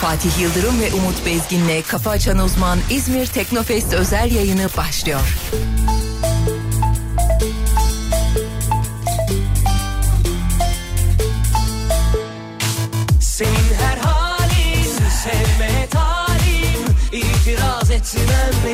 Fatih Yıldırım ve Umut Bezgin'le Kafa Açan Uzman İzmir Teknofest özel yayını başlıyor. Senin her halin sevmeye talim İtiraz etmem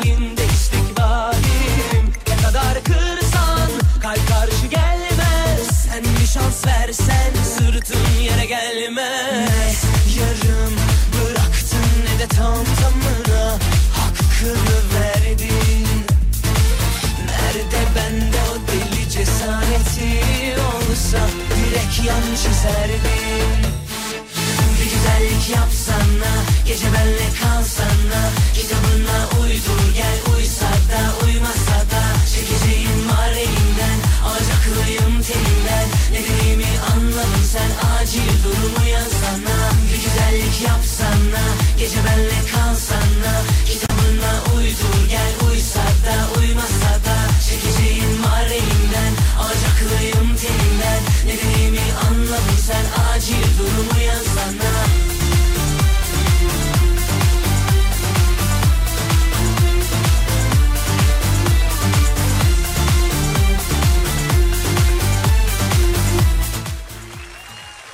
elinde istikbalim Ne kadar kırsan kalp karşı gelmez Sen bir şans versen sırtın yere gelmez Ne yarım bıraktın ne de tam tamına Hakkını verdin Nerede bende o deli cesareti olsa Direkt yan çizerdin bir güzellik yapsana Gece benle kalsana Kitabına uydur gel Uysa da uymasa da Çekeceğim var elinden Alacaklıyım telinden Ne dediğimi anladın sen Acil durumu yazsana Bir güzellik yapsana Gece benle kalsana Kitabına uydur gel Uysa da uymasa da Çekeceğim var elinden Alacaklıyım telinden Ne dediğimi anladın sen Acil durumu yazsana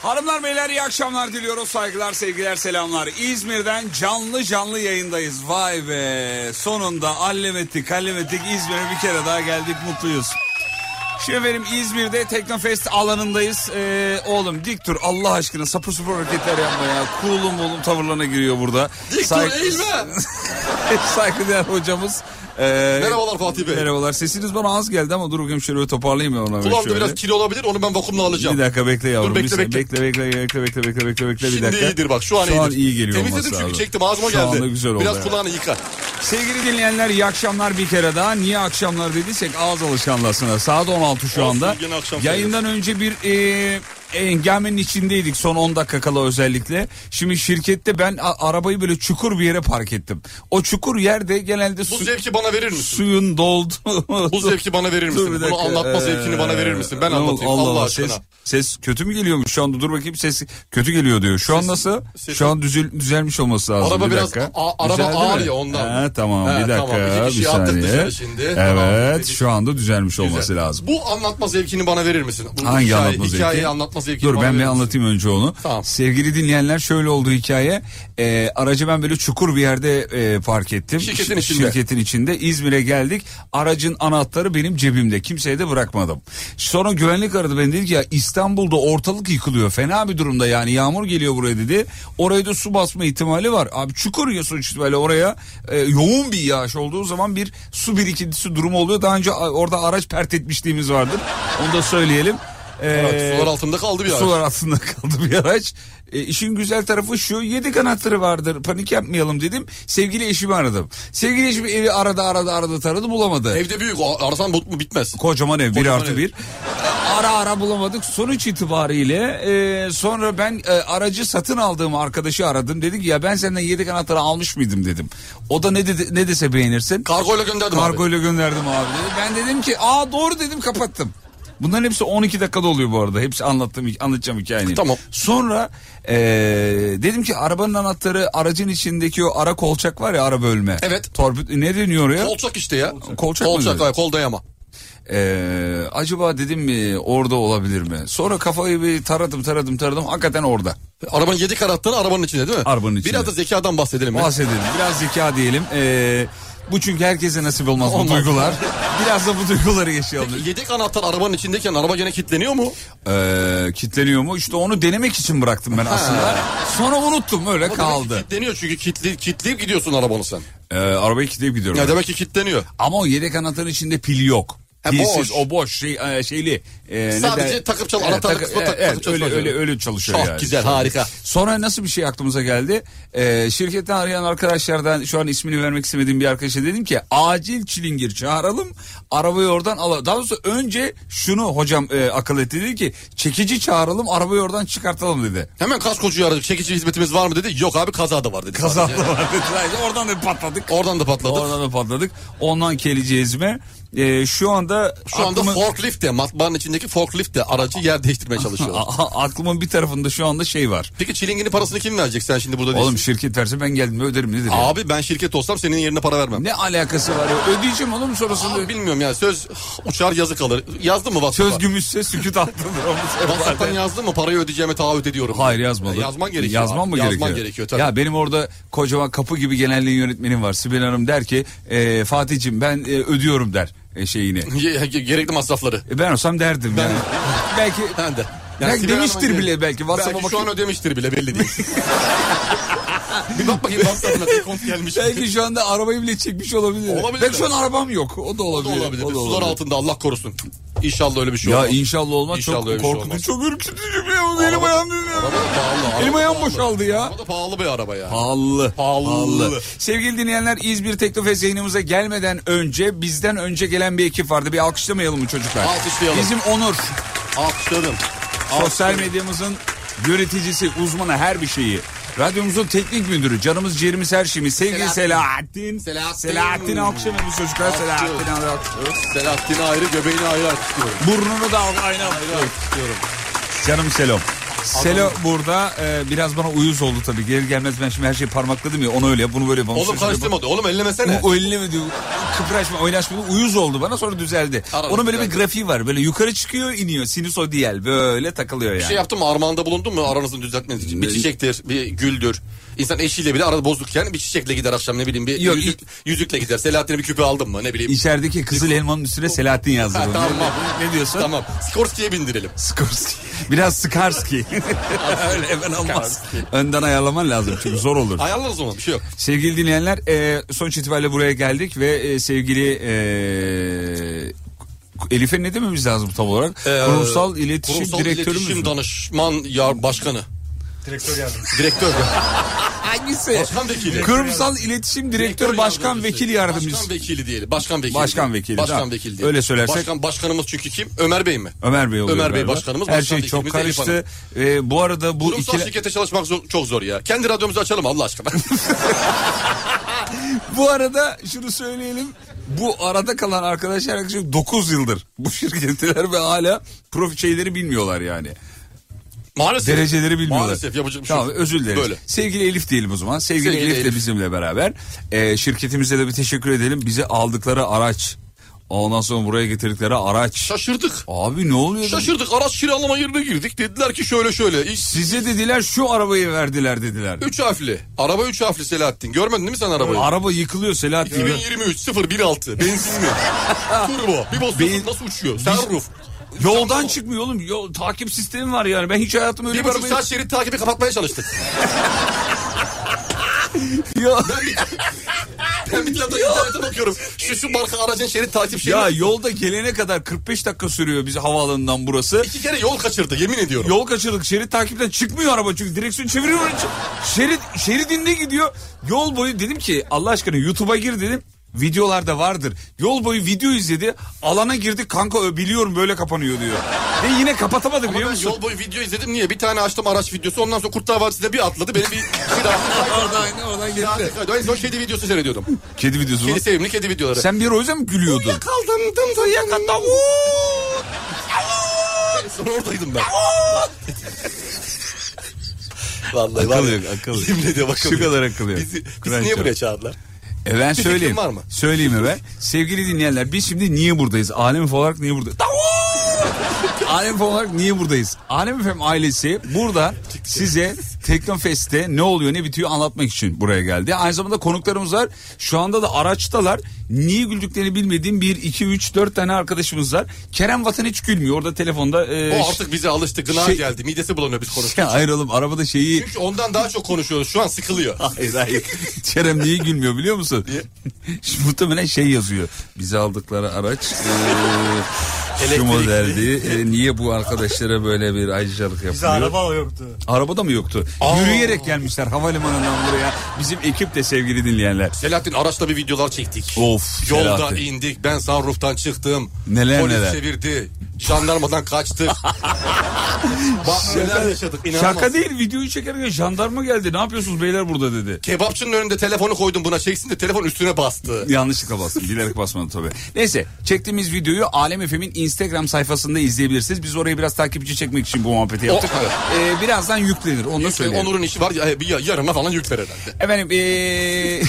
Hanımlar beyler iyi akşamlar diliyoruz. Saygılar, sevgiler, selamlar. İzmir'den canlı canlı yayındayız. Vay be. Sonunda allemettik, hallemettik. İzmir'e bir kere daha geldik. Mutluyuz. Şimdi efendim İzmir'de Teknofest alanındayız. Ee, oğlum dik dur Allah aşkına sapı sapı hareketler yapma ya. Kulum oğlum tavırlarına giriyor burada. Dik dur Saygı- eğilme. Saygıdeğer hocamız. ee, Merhabalar Fatih Bey. Merhabalar. Sesiniz bana az geldi ama dur bakayım şöyle bir toparlayayım ya ona. Kulağımda şöyle. biraz kilo olabilir onu ben vakumla alacağım. Bir dakika bekle yavrum. bekle, bir saniye. bekle. bekle bekle bekle bekle bekle bekle bekle bir Şimdi dakika. iyidir bak şu an iyidir. iyi geliyor olması Temizledim çünkü lazım. çektim ağzıma Şu geldi. anda güzel oldu. Biraz evet. kulağını yıka. Sevgili dinleyenler iyi akşamlar bir kere daha. Niye akşamlar dediysek ağız alışkanlığına. Saat 16 şu Olsun, anda. yine akşam Yayından önce bir e, engamenin içindeydik son 10 dakika kala özellikle. Şimdi şirkette ben a- arabayı böyle çukur bir yere park ettim. O çukur yerde genelde Bu su- zevki bana verir misin? suyun doldu. Bu zevki bana verir Dur misin? bir Bunu dakika. anlatma Ee, zevkini bana verir misin? Ben ne oldu? anlatayım Allah, aşkına. Ses, ses kötü mü geliyormuş şu anda? Dur bakayım ses kötü geliyor diyor. Şu an nasıl? ses- Şu an düzel, düzelmiş olması lazım. Araba bir biraz- dakika. a- araba Düzeldi ağır mi? ya ondan. Ha, tamam Ha, bir dakika. tamam, iki bir kişiyi attık saniye. dışarı şimdi. Evet Tamam, dedik. şu anda düzelmiş olması lazım. Bu anlatma zevkini bana verir misin? Bu Hangi hikaye- anlatma zevki? Hikayeyi anlatma zevkini Dur bana ben bir verir misin? anlatayım önce onu. Tamam. Sevgili dinleyenler şöyle oldu hikaye. Ee, aracı ben böyle çukur bir yerde e, park ettim. Şirketin Ş- içinde. Şirketin içinde. İzmir'e geldik. Aracın anahtarı benim cebimde. Kimseye de bırakmadım. Sonra güvenlik aradı beni dedi ki ya İstanbul'da ortalık yıkılıyor. Fena bir durumda yani yağmur geliyor buraya dedi. Oraya da su basma ihtimali var. Abi çukur ya sonuç itibariyle oraya e, yoğun bir yağış olduğu zaman bir su birikintisi durumu oluyor. Daha önce a- orada araç pert etmişliğimiz vardır. Onu da söyleyelim. Ee, Evet, sular altında kaldı bir araç. Sular altında kaldı bir araç. E, işin güzel tarafı şu yedi anahtarı vardır panik yapmayalım dedim. Sevgili eşimi aradım. Sevgili eşimi evi aradı aradı aradı taradı bulamadı. Evde büyük o- arasan bu bu bitmez. Kocaman ev bir Kocaman ev. artı bir. Ara ara bulamadık. Sonuç itibariyle e, sonra ben e, aracı satın aldığım arkadaşı aradım. Dedi ki ya ben senden yedek anahtarı almış mıydım dedim. O da ne, dedi, ne dese beğenirsin. Kargoyla gönderdim abi. Kargoyla gönderdim abi dedi. Ben dedim ki aa doğru dedim kapattım. Bunların hepsi 12 dakikada oluyor bu arada. Hepsi anlattım, anlatacağım hikayeyi. Tamam. Sonra eee, dedim ki arabanın anahtarı aracın içindeki o ara kolçak var ya ara bölme. Evet. Torpid ne deniyor oraya? Kolçak işte ya. Kolçak mı dedi? ay, kol dayama. Eee, acaba dedim mi orada olabilir mi? Sonra kafayı bir taradım taradım taradım hakikaten orada. Arabanın yedi kanatları arabanın içinde değil mi? Arabanın içinde. Biraz da zekadan bahsedelim. mi? Bahsedelim biraz zeka diyelim. Eee, bu çünkü herkese nasip olmaz bu Olmaz. duygular. Biraz da bu duyguları yaşayalım. Yedek anahtar arabanın içindeyken araba gene kilitleniyor mu? Ee, kitleniyor mu? İşte onu denemek için bıraktım ben aslında. Sonra unuttum Ama öyle demek ki kaldı. Kilitleniyor çünkü kilitli, kilitleyip gidiyorsun arabanı sen. Ee, arabayı kilitleyip gidiyorum. Ya demek ki kilitleniyor. Ama o yedek anahtarın içinde pil yok. Ha, Pilsiz, boş. o boş şey, e, şeyli. e, ne Sadece der- takıp çal- Evet, anahtarı takı- kısmı e, takıp evet, çalışıyor. öyle, öyle, öyle çalışıyor Çok yani. güzel harika. Sonra nasıl bir şey aklımıza geldi? Ee, şirketten arayan arkadaşlardan şu an ismini vermek istemediğim bir arkadaşa dedim ki acil çilingir çağıralım arabayı oradan alalım. Daha doğrusu önce şunu hocam e, akıl etti dedi ki çekici çağıralım arabayı oradan çıkartalım dedi. Hemen kaskocuyu aradık. Çekici hizmetimiz var mı dedi. Yok abi kazada var dedi. Kazandı sadece. var dedi. Oradan da patladık. Oradan da patladı. Oradan da patladık. Ondan geleceğiz mi? Ee, şu anda Şu anda aklımı- forklift de matbaanın içinde elindeki forkliftle aracı yer değiştirmeye çalışıyorlar. A- a- aklımın bir tarafında şu anda şey var. Peki çilinginin parasını kim verecek sen şimdi burada değilsin. Oğlum şirket verse ben geldim öderim nedir ya? Abi ben şirket olsam senin yerine para vermem. Ne alakası var ya? Ödeyeceğim oğlum sorusunu. Abi bilmiyorum ya söz uçar yazı kalır. Yazdın mı WhatsApp'a? Söz gümüşse süküt altındır. Onu WhatsApp'tan severler. yazdın mı parayı ödeyeceğime taahhüt ediyorum. Hayır yazmadı. E, Yazman gerekiyor. Yazman mı Yazman gerekiyor? gerekiyor tabii. Ya benim orada kocaman kapı gibi genelliğin yönetmenim var. Sibel Hanım der ki e, Fatih'cim ben e, ödüyorum der e, şeyini. Ge- ge- Gerekli masrafları. E, ben olsam derdim yani. belki Ben de. Yani belki Sibel demiştir Hanım'ın- bile belki. WhatsApp'a Belki şu an bakıp- ödemiştir bile belli değil. bir bak bakayım WhatsApp'ına bir kont gelmiş. Belki şu anda arabayı bile çekmiş olabilir. Olabilir. Belki şu an arabam yok. O da O da olabilir. olabilir. O da Sular olabilir. altında Allah korusun. İnşallah öyle bir şey Ya olmaz. inşallah olmaz. İnşallah çok öyle bir şey korkutucu, olmaz. çok ürkütücü bir an. Elim Araba- ayağım dönüyor. Araba pahalı, araba Elim ayağım pahalı. boşaldı ya. Araba da pahalı bir araba ya. Pahalı. Pahalı. Sevgili dinleyenler İzmir Teknofest yayınımıza gelmeden önce bizden önce gelen bir ekip vardı. Bir alkışlamayalım mı çocuklar? Alkışlayalım. Bizim Onur. Alkışladım. Sosyal medyamızın yöneticisi, uzmanı her bir şeyi. Radyomuzun teknik müdürü, canımız ciğerimiz her şeyimiz. Sevgili Selahattin. Selahattin. Selahattin alkışlamamız çocuklar. Alkışlıyoruz. Selahattin alkışlıyoruz. Selahattin'i ayrı göbeğini ayrı açıklıyorum. Burnunu da al- aynı alkışlıyoruz. Canım Selo. Selo burada e, biraz bana uyuz oldu tabii. Gelir gelmez ben şimdi her şeyi parmakladım ya. Onu öyle yap, bunu böyle yap. onu Oğlum şöyle yap. karıştırmadı. Oğlum ellemesene. Bu elini mi diyor? Kıpraşma, oynaşma. Uyuz oldu bana sonra düzeldi. Aralık Onun böyle düzeldi. bir grafiği var. Böyle yukarı çıkıyor, iniyor. Sinüsoidiyal böyle takılıyor yani. Bir şey yaptın mı? Armağanda bulundun mu aranızın düzeltmeniz için? Bir Ne- çiçektir, bir güldür. İnsan eşiyle bile arada bozukken bir çiçekle gider akşam ne bileyim bir Yok, yüzük, yüzükle gider. Selahattin'e bir küpe aldın mı ne bileyim. İçerideki kızıl elmanın üstüne Selahattin yazdı. Ha, bunu. tamam. Ne diyorsun? Tamam. Skorski'ye bindirelim. Skorsky. Biraz Skarski. Öyle hemen olmaz. Skarski. Önden ayarlaman lazım çünkü zor olur. Ayarlarız onu bir şey yok. Sevgili dinleyenler e, sonuç itibariyle buraya geldik ve e, sevgili e, Elif'e ne dememiz lazım tam olarak? kurumsal iletişim Ee, kurumsal direktörümüz iletişim mü? danışman yar başkanı. Direktör yardımcısı. Direktör. Hangisi? Başkan vekili. Kurumsal iletişim direktör başkan yardımcısı. vekili yardımcısı. Başkan vekili diyelim. Başkan vekili. Başkan diyelim. vekili, Başkan tamam. vekili Öyle söylersek- Başkan, başkanımız çünkü kim? Ömer Bey mi? Ömer Bey oluyor. Ömer Bey galiba. başkanımız, Her başkan şey çok vekilimiz karıştı. Elif Ee, bu arada bu Kurumsal ikile... şirkete çalışmak zor- çok zor ya. Kendi radyomuzu açalım Allah aşkına. bu arada şunu söyleyelim. Bu arada kalan arkadaşlar yaklaşık 9 yıldır bu şirketler ve hala prof şeyleri bilmiyorlar yani. Maalesef. Dereceleri bilmiyorlar. Maalesef yapacak bir şey Tamam yok. özür dileriz. Böyle. Sevgili Elif diyelim o zaman. Sevgili, Sevgili Elif, Elif. de bizimle beraber. Ee, şirketimize de bir teşekkür edelim. Bize aldıkları araç. Ondan sonra buraya getirdikleri araç. Şaşırdık. Abi ne oluyor? da- Şaşırdık. Araç kiralama yerine girdik. Dediler ki şöyle şöyle. İş- Size dediler şu arabayı verdiler dediler. Üç harfli. Araba üç harfli Selahattin. Görmedin değil mi sen arabayı? Araba yıkılıyor Selahattin. 2023 016 benzinli. Turbo. Bir basıyorsun Beyin- nasıl uçuyor? Sunroof. Yoldan çıkmıyor oğlum. Yol, takip sistemi var yani. Ben hiç hayatımda öyle Bir bir buçuk arabayı... saat şerit takibi kapatmaya çalıştık. Ya, Ben bir yandan internete bakıyorum. Şu şu marka aracın şerit takip şeyi. ya yolda gelene kadar 45 dakika sürüyor bizi havaalanından burası. İki kere yol kaçırdı yemin ediyorum. Yol kaçırdık. Şerit takipten çıkmıyor araba çünkü direksiyon çeviriyor. onun için. Şerit şeridinde gidiyor. Yol boyu dedim ki Allah aşkına YouTube'a gir dedim. Videolarda vardır. Yol boyu video izledi. Alana girdik kanka ö, biliyorum böyle kapanıyor diyor. Ve yine kapatamadı Ama biliyor ben musun? yol boyu video izledim niye? Bir tane açtım araç videosu ondan sonra Kurtlar Vadisi'de bir atladı. Benim bir Oradan, oradan gitti. kaydı. En son kedi videosu seyrediyordum. Kedi videosu mu? Kedi sevimli kedi videoları. Sen bir ara o yüzden mi gülüyordun? kaldım dım dım yakında. Uuu. Sonra oradaydım ben. Vallahi var Akıl ya, yok, akıl yok. Yemin ediyorum akıl Şu yok. kadar akıl yok. Bizi, bizi Kur'an niye çarpsın. buraya çağırdılar? E ben fikrin söyleyeyim. var mı? Söyleyeyim ben. Sevgili dinleyenler biz şimdi niye buradayız? Alem Efe olarak niye buradayız? Alem Efe olarak niye buradayız? Alem Efem ailesi burada size Teknofest'te ne oluyor ne bitiyor anlatmak için buraya geldi. Aynı zamanda konuklarımız var. Şu anda da araçtalar. Niye güldüklerini bilmediğim bir, iki, üç, dört tane arkadaşımız var. Kerem Vatan hiç gülmüyor. Orada telefonda... E, O artık bize alıştı. Gına şey- geldi. Midesi bulanıyor biz konuştuk. Ya hayır oğlum arabada şeyi... Çünkü ondan daha çok konuşuyoruz. Şu an sıkılıyor. Hayır hayır. Kerem niye gülmüyor biliyor musun? Niye? Şimdi Muhtemelen şey yazıyor. Bize aldıkları araç eee Elektrikli. şu modeldi. Eee, niye bu arkadaşlara böyle bir ayrıcalık yapılıyor? Bize araba yoktu. Arabada mı yoktu? Yürüyerek gelmişler havalimanından buraya. Bizim ekip de sevgili dinleyenler. Selahattin araçla bir videolar çektik. Of, Yolda Selahattin. indik. Ben sunroof'tan çıktım. Neler Polis neler. çevirdi. Jandarmadan kaçtı. Bak neler yaşadık inanılmaz. Şaka değil videoyu çekerken jandarma geldi ne yapıyorsunuz beyler burada dedi. Kebapçının önünde telefonu koydum buna şey- çeksin de telefon üstüne bastı. Yanlışlıkla bastım. Bilerek basmadım tabii. Neyse çektiğimiz videoyu Alem FM'in Instagram sayfasında izleyebilirsiniz. Biz orayı biraz takipçi çekmek için bu muhabbeti yaptık. O- evet. Ee, birazdan yüklenir onu da Yükle- söyleyelim. Onur'un işi var ya, e, bir ya- yarına falan yük ver herhalde. Efendim ee,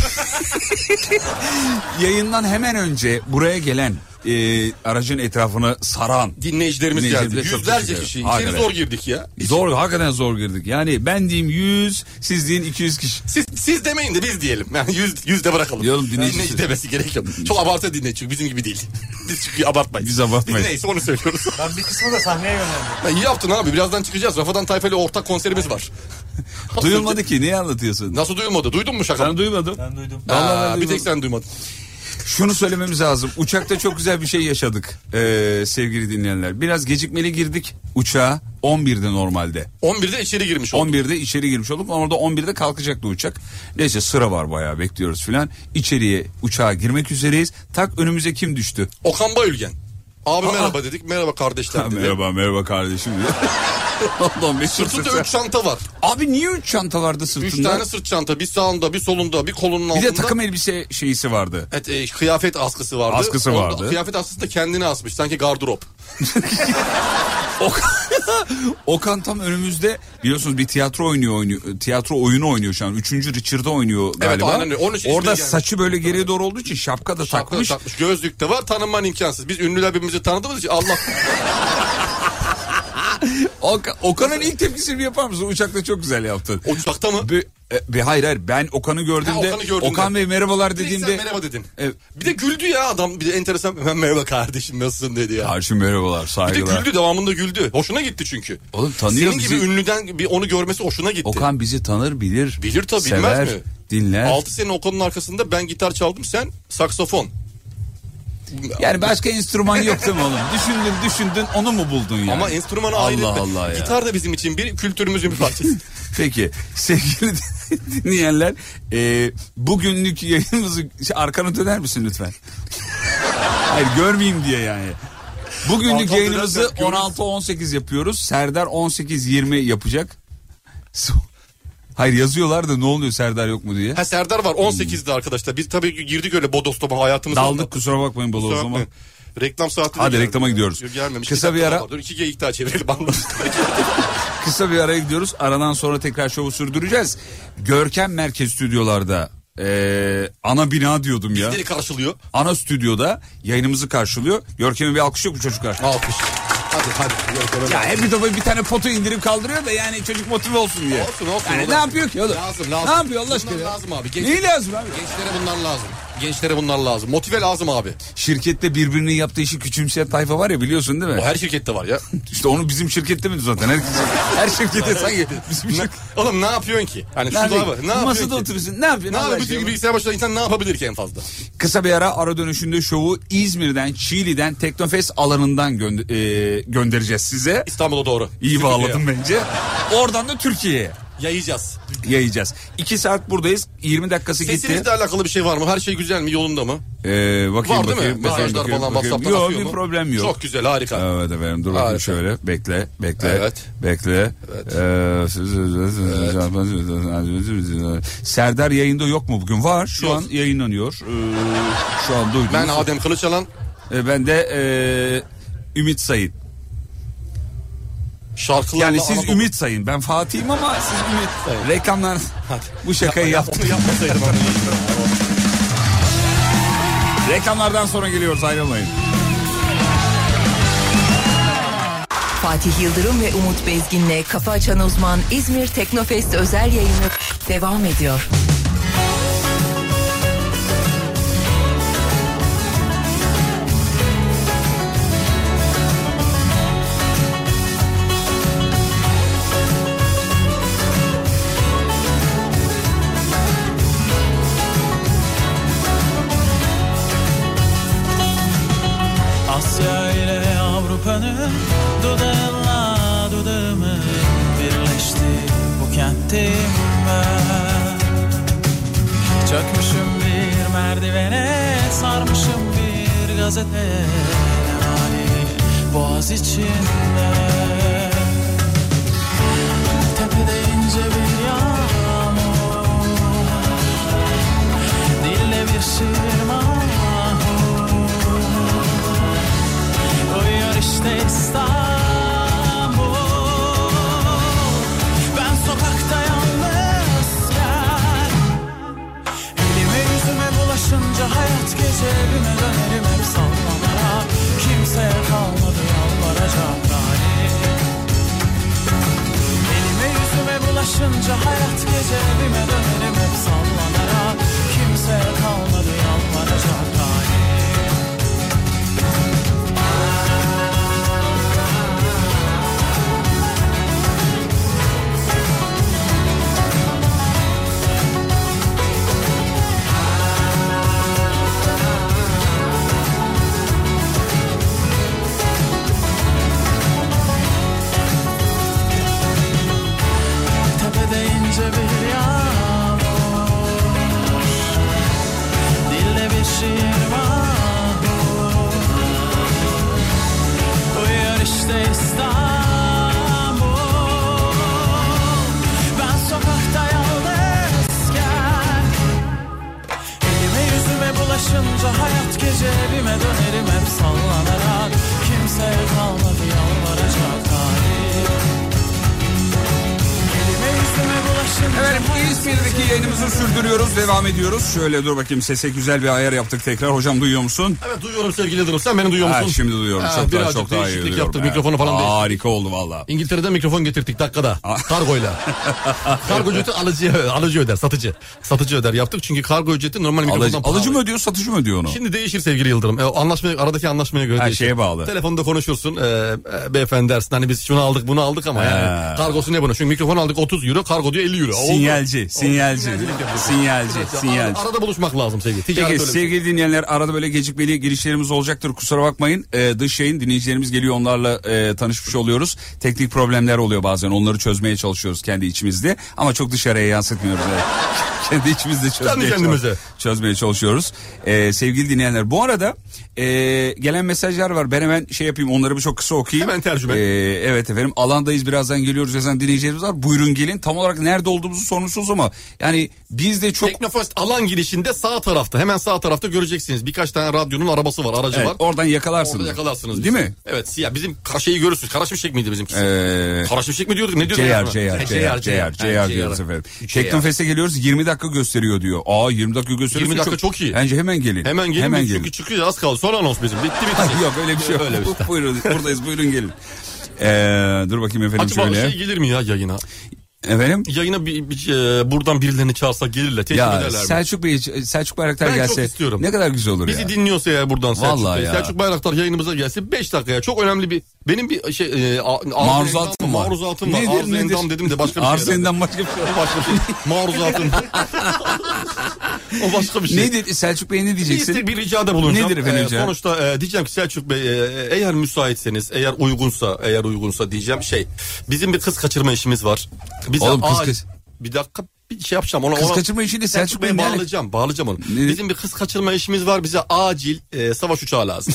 yayından hemen önce buraya gelen ee, aracın etrafını saran Dinleyicilerimiz geldi. Dinleyicilerimize çok Yüzlerce teşekkür kişi. ederim. İçeri Hakikaten. zor girdik ya. Zor hakikaten zor girdik. Yani ben diyeyim 100 siz deyin 200 kişi. Siz, siz demeyin de biz diyelim. Yani yüz, yüzde bırakalım. Diyorum, dinleyici- Dinleyici demesi gerek yok. Çok abartı dinleyici çünkü bizim gibi değil. Biz çünkü abartmayız. Biz abartmayız. Neyse onu söylüyoruz. Ben bir kısmı da sahneye yöneldim. Ya iyi yaptın abi birazdan çıkacağız. Rafadan Tayfa ile ortak konserimiz var. Duyulmadı ki niye anlatıyorsun? Nasıl duyulmadı? Duydun mu şakamı? Ben duymadım. Ben duydum. Aa, Vallahi ben bir tek duymadım. sen duymadın. Şunu söylememiz lazım. Uçakta çok güzel bir şey yaşadık ee, sevgili dinleyenler. Biraz gecikmeli girdik uçağa. 11'de normalde. 11'de içeri girmiş olduk. 11'de içeri girmiş olduk. Orada 11'de kalkacaktı uçak. Neyse sıra var bayağı bekliyoruz filan. İçeriye uçağa girmek üzereyiz. Tak önümüze kim düştü? Okan Bayülgen. Abi Aa. merhaba dedik. Merhaba Ha, kardeşler dedi. merhaba merhaba kardeşim. diyor. Allah'ım ne Sırtında sırtı- 3 çanta var. Abi niye 3 çanta vardı 3 sırtında? tane sırt çanta. Bir sağında, bir solunda, bir kolunun Bir altında. de takım elbise şeysi vardı. Evet, e, kıyafet askısı vardı. Askısı Onda- vardı. Kıyafet askısı da kendine asmış. Sanki gardırop. Okan, Okan tam önümüzde biliyorsunuz bir tiyatro oynuyor, oynuyor tiyatro oyunu oynuyor şu an. Üçüncü Richard'da oynuyor galiba. aynen öyle. Onun için ismi Orada gelmiş. saçı böyle geriye doğru olduğu için şapka da Şapka takmış. takmış. Gözlük de var. Tanınman imkansız. Biz ünlüler birbirimizi tanıdığımız için Allah. Okan- Okan'ın ilk tepkisini yapar mısın? Uçakta çok güzel yaptın. Uçakta mı? Bir, e, bir- hayır hayır ben Okan'ı gördüğümde Ha, Okan'ı gördüğümde. Okan Bey merhabalar Direkt sen dediğimde merhaba dedin. Evet. Bir de güldü ya adam. Bir de enteresan. "Ben Merhaba kardeşim nasılsın dedi ya. karşı merhabalar Bir de saygılar. güldü devamında güldü. Hoşuna gitti çünkü. Oğlum tanıyor Senin bizi. gibi ünlüden bir onu görmesi hoşuna gitti. Okan bizi tanır bilir. Bilir tabii sever, bilmez mi? Dinler. 6 sene Okan'ın arkasında ben gitar çaldım sen saksafon. Yani başka enstrüman yok değil mi oğlum? Düşündün düşündün onu mu buldun yani? Ama enstrümanı Allah ayrı. Allah ya. Gitar da bizim için bir kültürümüzün bir parçası. Peki sevgili dinleyenler e, bugünlük yayınımızı arkanı döner misin lütfen? Hayır görmeyeyim diye yani. Bugünlük Arkanı yayınımızı dönersek görürüz. 16-18 yapıyoruz. Serdar 18-20 yapacak. So- Hayır yazıyorlar da ne oluyor Serdar yok mu diye. ha Serdar var 18'de arkadaşlar. Biz tabii girdik öyle bodoslama hayatımız. Daldık kusura bakmayın baba o Kusura zaman. bakmayın. Reklam saati. de Hadi geldi. reklama gidiyoruz. Gelmemiş. Kısa bir dakika ara. daha var. Dur iki geyik daha çevirelim. anlaştık. Kısa bir araya gidiyoruz. Aradan sonra tekrar şovu sürdüreceğiz. Görkem Merkez Stüdyolar'da e, ana bina diyordum ya. Bizleri karşılıyor. ana stüdyoda yayınımızı karşılıyor. Görkem'e bir alkış yok mu çocuklar? Alkış. Hadi hadi. Yok, öyle Ya hep bir topa bir tane potu indirip kaldırıyor da yani çocuk motive olsun diye. Olsun, olsun, Yani olsun. ne yapıyor ki oğlum? Lazım, lazım. Ne yapıyor Allah aşkına? Bunlar ya? lazım abi, genç- Neyi lazım abi? Gençlere bunlar lazım. Gençlere bunlar lazım. Motive lazım abi. Şirkette birbirinin yaptığı işi küçümseyen tayfa var ya biliyorsun değil mi? O her şirkette var ya. İşte onu bizim şirkette mi zaten? Herkes, her şirkette sanki bizim Ne- şirket. Oğlum ne yapıyorsun ki? Hani şu Nerede? da var. Ne yapıyorsun Masada ki? oturuyorsun. Ne yapıyorsun? Ne Allah yapıyorsun? aşkına? Bilgisayar başında insan ne yapabilir ki en fazla? Kısa bir ara ara dönüşünde şovu İzmir'den, Çiğli'den, Teknofest alanından gönder- e, göndereceğiz size. İstanbul'a doğru. İyi Stüdyoya. bağladım bence. Oradan da Türkiye'ye. Yayacağız. yayacağız. 2 saat buradayız. 20 dakikası gitti. Sesinizle alakalı bir şey var mı? Her şey güzel mi? Yolunda mı? Ee, bakayım var değil bakayım. mi? bakayım, Mesajlar bakayım, falan bakayım. WhatsApp'tan Yok atıyor bir mu? problem yok. Çok güzel harika. Evet efendim dur bakayım Harika. şöyle bekle bekle Evet. bekle Ee, siz- siz- siz- Serdar yayında yok mu bugün var şu Yok. an yayınlanıyor Ee, şu an duydum Ben Adem Kılıçalan, ben de e, Ümit Sayın şarkılarla... yani siz Anadolu- Ümit Sayın ben Fatih'im ama siz Ümit reklamlar bu şakayı yaptım Onu yapmasaydım. reklamlardan sonra geliyoruz ayrılmayın. Fatih Yıldırım ve Umut Bezgin'le Kafa Açan Uzman İzmir Teknofest özel yayını devam ediyor. Asya ile Avrupa'nın dudağınla dudağımı birleşti bu kentim ben. Çökmüşüm bir merdivene, sarmışım bir gazeteye. Ne mani boğaz içinde Tepede ince bir yağmur Dille bir şiir mahmur Uyuyor işte İstanbul Ben sokakta yalnızken Elime yüzüme bulaşınca hayat gece evime dönerim hep sallamaya Kimseye kalmadı yalvaracağım dahi Elime yüzüme bulaşınca hayat gece evime dönerim hep sallamaya Kimseye kalmadı yalvaracağım dahi Tepede ince bir yağmur Dilde bir şiir mahmur Uyuyor işte İstanbul Ben sokakta yalnızken Elime yüzüme bulaşınca hayat gece evime dönerim hep sallanarak Kimseye kalmadı yalvaracak halim Elime yüzüme bulaşınca Efendim İzmir'deki yayınımızı sürdürüyoruz devam ediyoruz. Şöyle dur bakayım sese güzel bir ayar yaptık tekrar hocam duyuyor musun? Evet duyuyorum sevgili Dırım. Sen beni duyuyor musun? Ha, şimdi duyuyorum çok daha birazcık çok daha iyi değişiklik duyuyorum. yaptık Evet. mikrofonu falan değil. Harika oldu valla. İngiltere'den mikrofon getirttik dakikada. Kargoyla. kargo ücreti alıcı, alıcı öder, satıcı. Satıcı öder yaptık çünkü kargo ücreti normal mikrofondan Alıcı, pahalı. alıcı mı ödüyor satıcı mı ödüyor onu? Şimdi değişir sevgili Yıldırım. E, o anlaşmaya, aradaki anlaşmaya göre Her değişir. şeye bağlı. Telefonda konuşursun. E, e, beyefendi dersin hani biz şunu aldık bunu aldık ama yani. Kargosu ne bunun? Çünkü mikrofon aldık 30 euro kargo diyor 50 euro. Oldu. Sinyalci, sinyalci, Sinyalcilik yapıyorsun. sinyalci, Ya, sinyalci. Arada, arada buluşmak lazım sevgili. Ticaret Peki öyle bir şey. sevgili dinleyenler arada böyle gecikmeli girişlerimiz olacaktır kusura bakmayın. Ee, dış yayın dinleyicilerimiz geliyor onlarla e, tanışmış oluyoruz. Teknik problemler oluyor bazen onları çözmeye çalışıyoruz kendi içimizde. Ama çok dışarıya yansıtmıyoruz. evet. kendi içimizde çözmeye, Kendi kendimize. çözmeye çalışıyoruz. Ee, sevgili dinleyenler bu arada e, gelen mesajlar var ben hemen şey yapayım onları bir çok kısa okuyayım. Hemen tercüme. Ee, evet efendim alandayız birazdan geliyoruz yazan dinleyicilerimiz var. Buyurun gelin tam olarak nerede olduğumuzu sorumsuz ama yani biz de çok Teknofest alan girişinde sağ tarafta hemen sağ tarafta göreceksiniz. Birkaç tane radyonun arabası var aracı Evet, var. oradan yakalarsınız. Orada yakalarsınız. Değil bizi. mi? Evet siyah bizim ka- şeyi görürsünüz. Karaşimşek miydi bizimkisi? Ee, Karaşimşek mi diyorduk ne diyorduk? CR, ya? CR, Ha, CR, CR, Ha, CR diyoruz efendim. CR. Teknofest'e geliyoruz 20 dakika gösteriyor diyor. Aa 20 dakika gösteriyor. 20 dakika çok iyi. Bence hemen gelin. Hemen gelin biz çünkü çıkıyor az kaldı. Son anons bizim. Bitti bitti. Yok öyle bir şey yok. Öyle bir şey. buyurun buradayız buyurun gelin. Ee, dur bakayım efendim Acaba şöyle. şey gelir mi ya yayına? Efendim? Yayına bir, bir- e, buradan birilerini çağırsa gelirler. Teşvik Ya ederler mi? Selçuk Bey Selçuk Bayraktar Ben çok gelse istiyorum. ne kadar güzel olur Bizi ya. dinliyorsa eğer buradan Selçuk Vallahi Bey. ya. Selçuk Bayraktar yayınımıza gelse 5 dakikaya çok önemli bir benim bir şey e, a- arzu Maruzatım endam- var. Maruzatım var. Nedir, Arzu nedir? endam dedim de başka bir şey. Arzu endam başka bir şey. O başka bir şey. Maruzatım. o başka bir şey. Ne dedi Selçuk Bey ne Bir, diyeceksin? iste- bir ricada bulunacağım. Nedir efendim rica? Sonuçta e, diyeceğim ki Selçuk Bey e, eğer müsaitseniz, eğer uygunsa, eğer uygunsa diyeceğim şey. Bizim bir kız kaçırma işimiz var. Bize Oğlum kız acil- kaç- Bir dakika bir şey yapacağım. Ona, Kız ona- kaçırma işinde Selçuk Bey Bey'e ne alaka- bağlayacağım, bağlayacağım onu. Ne? Bizim bir kız kaçırma işimiz var. Bize acil e, savaş uçağı lazım.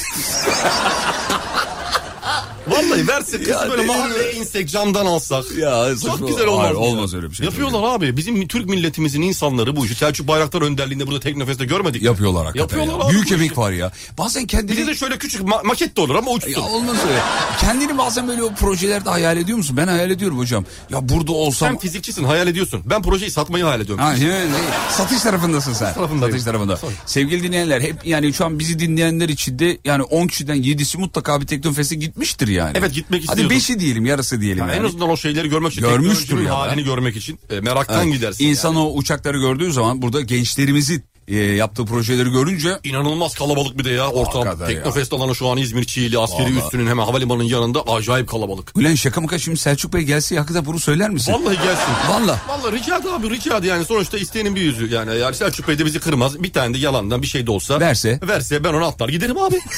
Vallahi versin kızı böyle "Ah mahalleye insek camdan alsak. Ya, saçma. çok güzel olmaz. Hayır, mı ya? olmaz öyle bir şey. Yapıyorlar abi. Bizim Türk milletimizin insanları bu işi. Selçuk Bayraktar önderliğinde burada Teknofest'te görmedik. mi? Yapıyorlar hakikaten Yapıyorlar ya. abi Büyük bu işi. emek var ya. Bazen kendini Bize de şöyle küçük ma- maket de olur ama uçsun. Ya olmaz öyle. Kendini bazen böyle o projelerde hayal ediyor musun? Ben hayal ediyorum hocam. Ya burada olsam... Sen fizikçisin hayal ediyorsun. Ben projeyi satmayı hayal ediyorum. Ha, he, he. satış tarafındasın sen. tarafındayım. Satış tarafında. Sevgili dinleyenler hep yani şu an bizi dinleyenler içinde yani 10 kişiden 7'si mutlaka bir Teknofest'e gitmiştir yani. Evet, gitmek Hadi istiyordum. 5'i diyelim yarısı diyelim yani. En azından o şeyleri görmek için. Görmüştür teknolojinin ya. halini görmek için. e, meraktan Evet. gidersin. İnsan o uçakları gördüğü zaman burada gençlerimizin e, yaptığı projeleri görünce İnanılmaz kalabalık bir de ya ortam. Hakikaten ya. Teknofest alanı şu an İzmir Çiğli askeri Vallahi. üssünün hemen havalimanının yanında acayip kalabalık. Ulan şaka maka şimdi Selçuk Bey gelse hakikaten bunu söyler misin? Vallahi gelsin. Vallahi. Vallahi rica ed- abi rica ed- yani sonuçta isteğinin bir yüzü yani. Yani Selçuk Bey de bizi kırmaz. Bir tane de yalandan bir şey de olsa. Verse. Verse ben onu atlar giderim abi.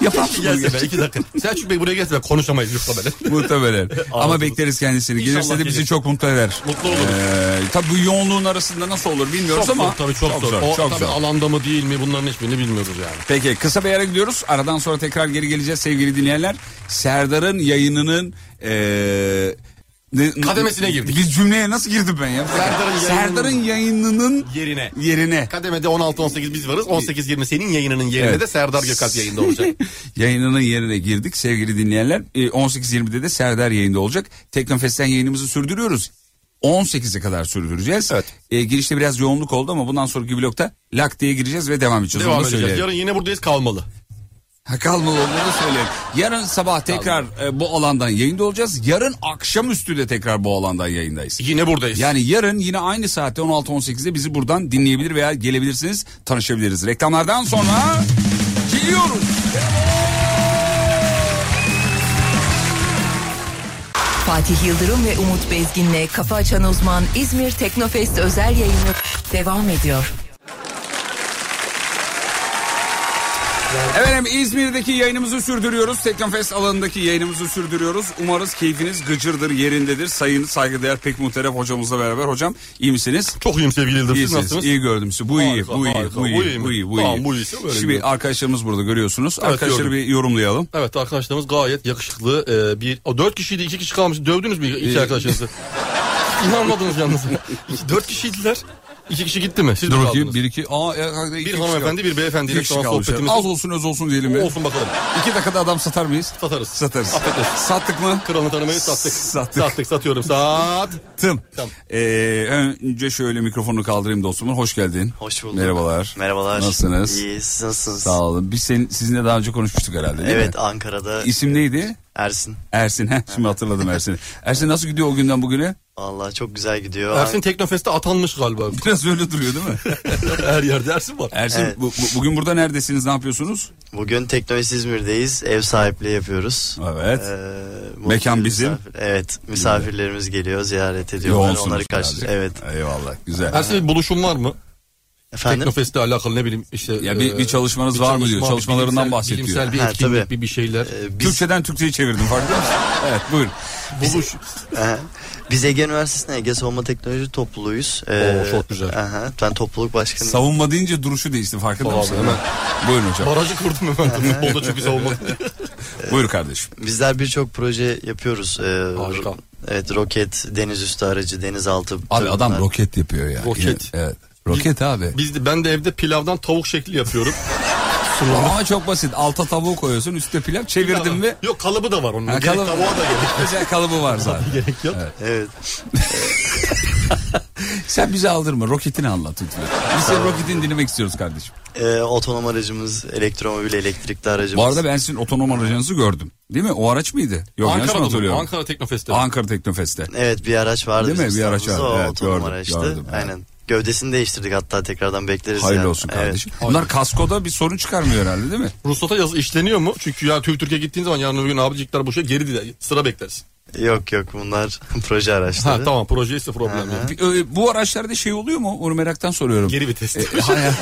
Yapar Keşke mısın bunu gelse be gerçekten? iki dakika. Selçuk Bey buraya gelse ben konuşamayız muhtemelen. Muhtemelen. Ama Ağzımız- bekleriz kendisini. İnşallah Gelirse de bizi gelir. çok mutlu eder. Mutlu oluruz. Ee, tabii bu yoğunluğun arasında nasıl olur bilmiyoruz ama. zor tabii çok, zor. O çok tabii zor. alanda mı değil mi bunların hiçbirini bilmiyoruz yani. Peki kısa bir yere gidiyoruz. Aradan sonra tekrar geri geleceğiz sevgili dinleyenler. Serdar'ın yayınının... eee ne- Kademesine girdik. Bir cümleye nasıl girdim ben ya? Serdar'ın yayınının- Serdar'ın yayınının Yerine. yerine. Kademede 16-18 biz varız. 18-20 senin yayınının yerinde Evet. de Serdar Gökalp yayında olacak. Yayınının yerine girdik sevgili dinleyenler. Ee, 18.20'de de Serdar yayında olacak. Teknofest'ten yayınımızı sürdürüyoruz. 18'e kadar sürdüreceğiz. Evet. Ee, girişte biraz yoğunluk oldu ama bundan sonraki blokta lak diye gireceğiz ve devam edeceğiz. Devam Onu da edeceğiz. söyleyelim. Yarın yine buradayız kalmalı. Ha, kalmalı onları da söyleyelim. Yarın sabah tekrar e, bu alandan yayında olacağız. Yarın akşamüstü de tekrar bu alandan yayındayız. Yine buradayız. Yani yarın yine aynı saatte 16-18'de bizi buradan dinleyebilir veya gelebilirsiniz, tanışabiliriz. Reklamlardan sonra geliyoruz. Fatih Yıldırım ve Umut Bezgin'le Kafa Açan Uzman İzmir Teknofest özel yayını devam ediyor. Efendim İzmir'deki yayınımızı sürdürüyoruz. Teknofest alanındaki yayınımızı sürdürüyoruz. Umarız keyfiniz gıcırdır, yerindedir. Sayın saygıdeğer pek muhterem hocamızla beraber. Hocam iyi misiniz? Çok iyiyim sevgili Yıldırım. Siz İyisiniz. nasılsınız? iyi gördüm sizi. Bu iyi, Harika, bu iyi, harika. bu Bu iyi iyi, mi? bu iyi, bu iyi. Tamam, bu iyiyse böyle Şimdi gidiyor. arkadaşlarımız burada görüyorsunuz. Arkadaşları gördüm. bir yorumlayalım. Evet arkadaşlarımız gayet yakışıklı. Ee, bir, o dört kişiydi iki kişi kalmış. Dövdünüz mü iki arkadaşınızı? İnanmadınız yalnız. İki- dört kişiydiler. İki kişi gitti mi? Siz mi kaldınız? Bir, iki, aa, e, iki kişi hanımefendi kaldı. bir beyefendiyle İki şu kişi an kalmış. sohbetimiz Az olsun öz olsun diyelim mi? olsun bakalım. İki dakikada adam satar mıyız? Satarız. Satarız. Affedersin. Sattık mı? Kralını tanımayı sattık. Sattık. Sattık satıyorum. Sat. Tım. Tamam. Ee, önce şöyle mikrofonu kaldırayım dostumun. Hoş geldin. Hoş bulduk. Merhabalar. Merhabalar. Nasılsınız? İyi, siz nasılsınız? Sağ olun. Biz senin, sizinle daha önce konuşmuştuk herhalde değil Evet, mi? Ankara'da e, İsim neydi? Ersin. Ersin. Heh, şimdi hatırladım Ersin'i. Ersin nasıl gidiyor o günden bugüne? Vallahi çok güzel gidiyor. Ersin Teknofest'e atanmış galiba. Biraz öyle duruyor değil mi? Her yerde Ersin var. Ersin Evet. bu- bu- bugün burada neredesiniz? Ne yapıyorsunuz? Bugün Teknolojisi İzmir'deyiz. Ev sahipliği yapıyoruz. Evet. Ee, Mekan bu- bizim. misafir- evet. Misafirlerimiz geliyor, ziyaret ediyorlar. Yoğunsunuz Onları karşı. birazcık. Evet. Eyvallah. Güzel. Ersin bir buluşun var mı? Efendim? Teknofest'le alakalı ne bileyim işte. Ya bir- e, bir çalışmanız var mı diyor. çalışma, Çalışmalarından bilimsel- bahsediyor. Bilimsel bir Ha, etkinlik tabii. bir, bir şeyler. Ee, biz, Türkçeden Türkçe'ye çevirdim farkında mısın? evet buyurun. Buluş. Aha. Biz Ege Üniversitesi'nin Ege Savunma Teknoloji Topluluğuyuz. Ee, Oo, çok güzel. aha, ben topluluk başkanıyım. Savunma deyince duruşu değişti farkında Tamam, mısın? hemen. Buyurun hocam. Barajı kurdum hemen. Futbolda çok güzel olmadı. Buyur kardeşim. Bizler birçok proje yapıyoruz. Ee, Harika. ro- Evet roket, deniz üstü aracı, denizaltı. Abi adam tırmanlar. roket yapıyor ya. Roket. Evet. Roket abi. Biz de, ben de evde pilavdan tavuk şekli yapıyorum. Ama çok basit. Alta tavuğu koyuyorsun, üstte pilav çevirdin mi? Yok kalıbı da var onun. Ha, Gerek Tavuğa da gerek. Güzel kalıbı var zaten. Gerek yok. Evet. Sen bizi aldırma. Roketini anlat lütfen. Biz senin roketini dinlemek istiyoruz kardeşim. Ee, otonom aracımız, elektromobil, elektrikli aracımız. Bu arada ben sizin otonom aracınızı gördüm. Değil mi? O araç mıydı? Yok yanlış mı Ankara'da mı? hatırlıyorum? Ankara Teknofest'te. Ankara Teknofest'te. Evet bir araç vardı. Değil mi? bizim Bir araç standımızda, vardı. O Evet, otonom gördüm, araçtı. gördüm, evet. Aynen. Gövdesini değiştirdik hatta tekrardan bekleriz. Hayırlı yani. olsun Evet. kardeşim. Bunlar kaskoda bir sorun çıkarmıyor herhalde değil mi? Ruhsata yazı işleniyor mu? Çünkü ya Türk Türkiye gittiğin zaman yarın öbür gün abicikler boşa geri diler. Sıra bekleriz. Yok yok bunlar proje Ha araçları. tamam proje ise problem yok. Bir- ö, Bu araçlarda şey oluyor mu? Onu meraktan soruyorum. Geri vites. E, hayır.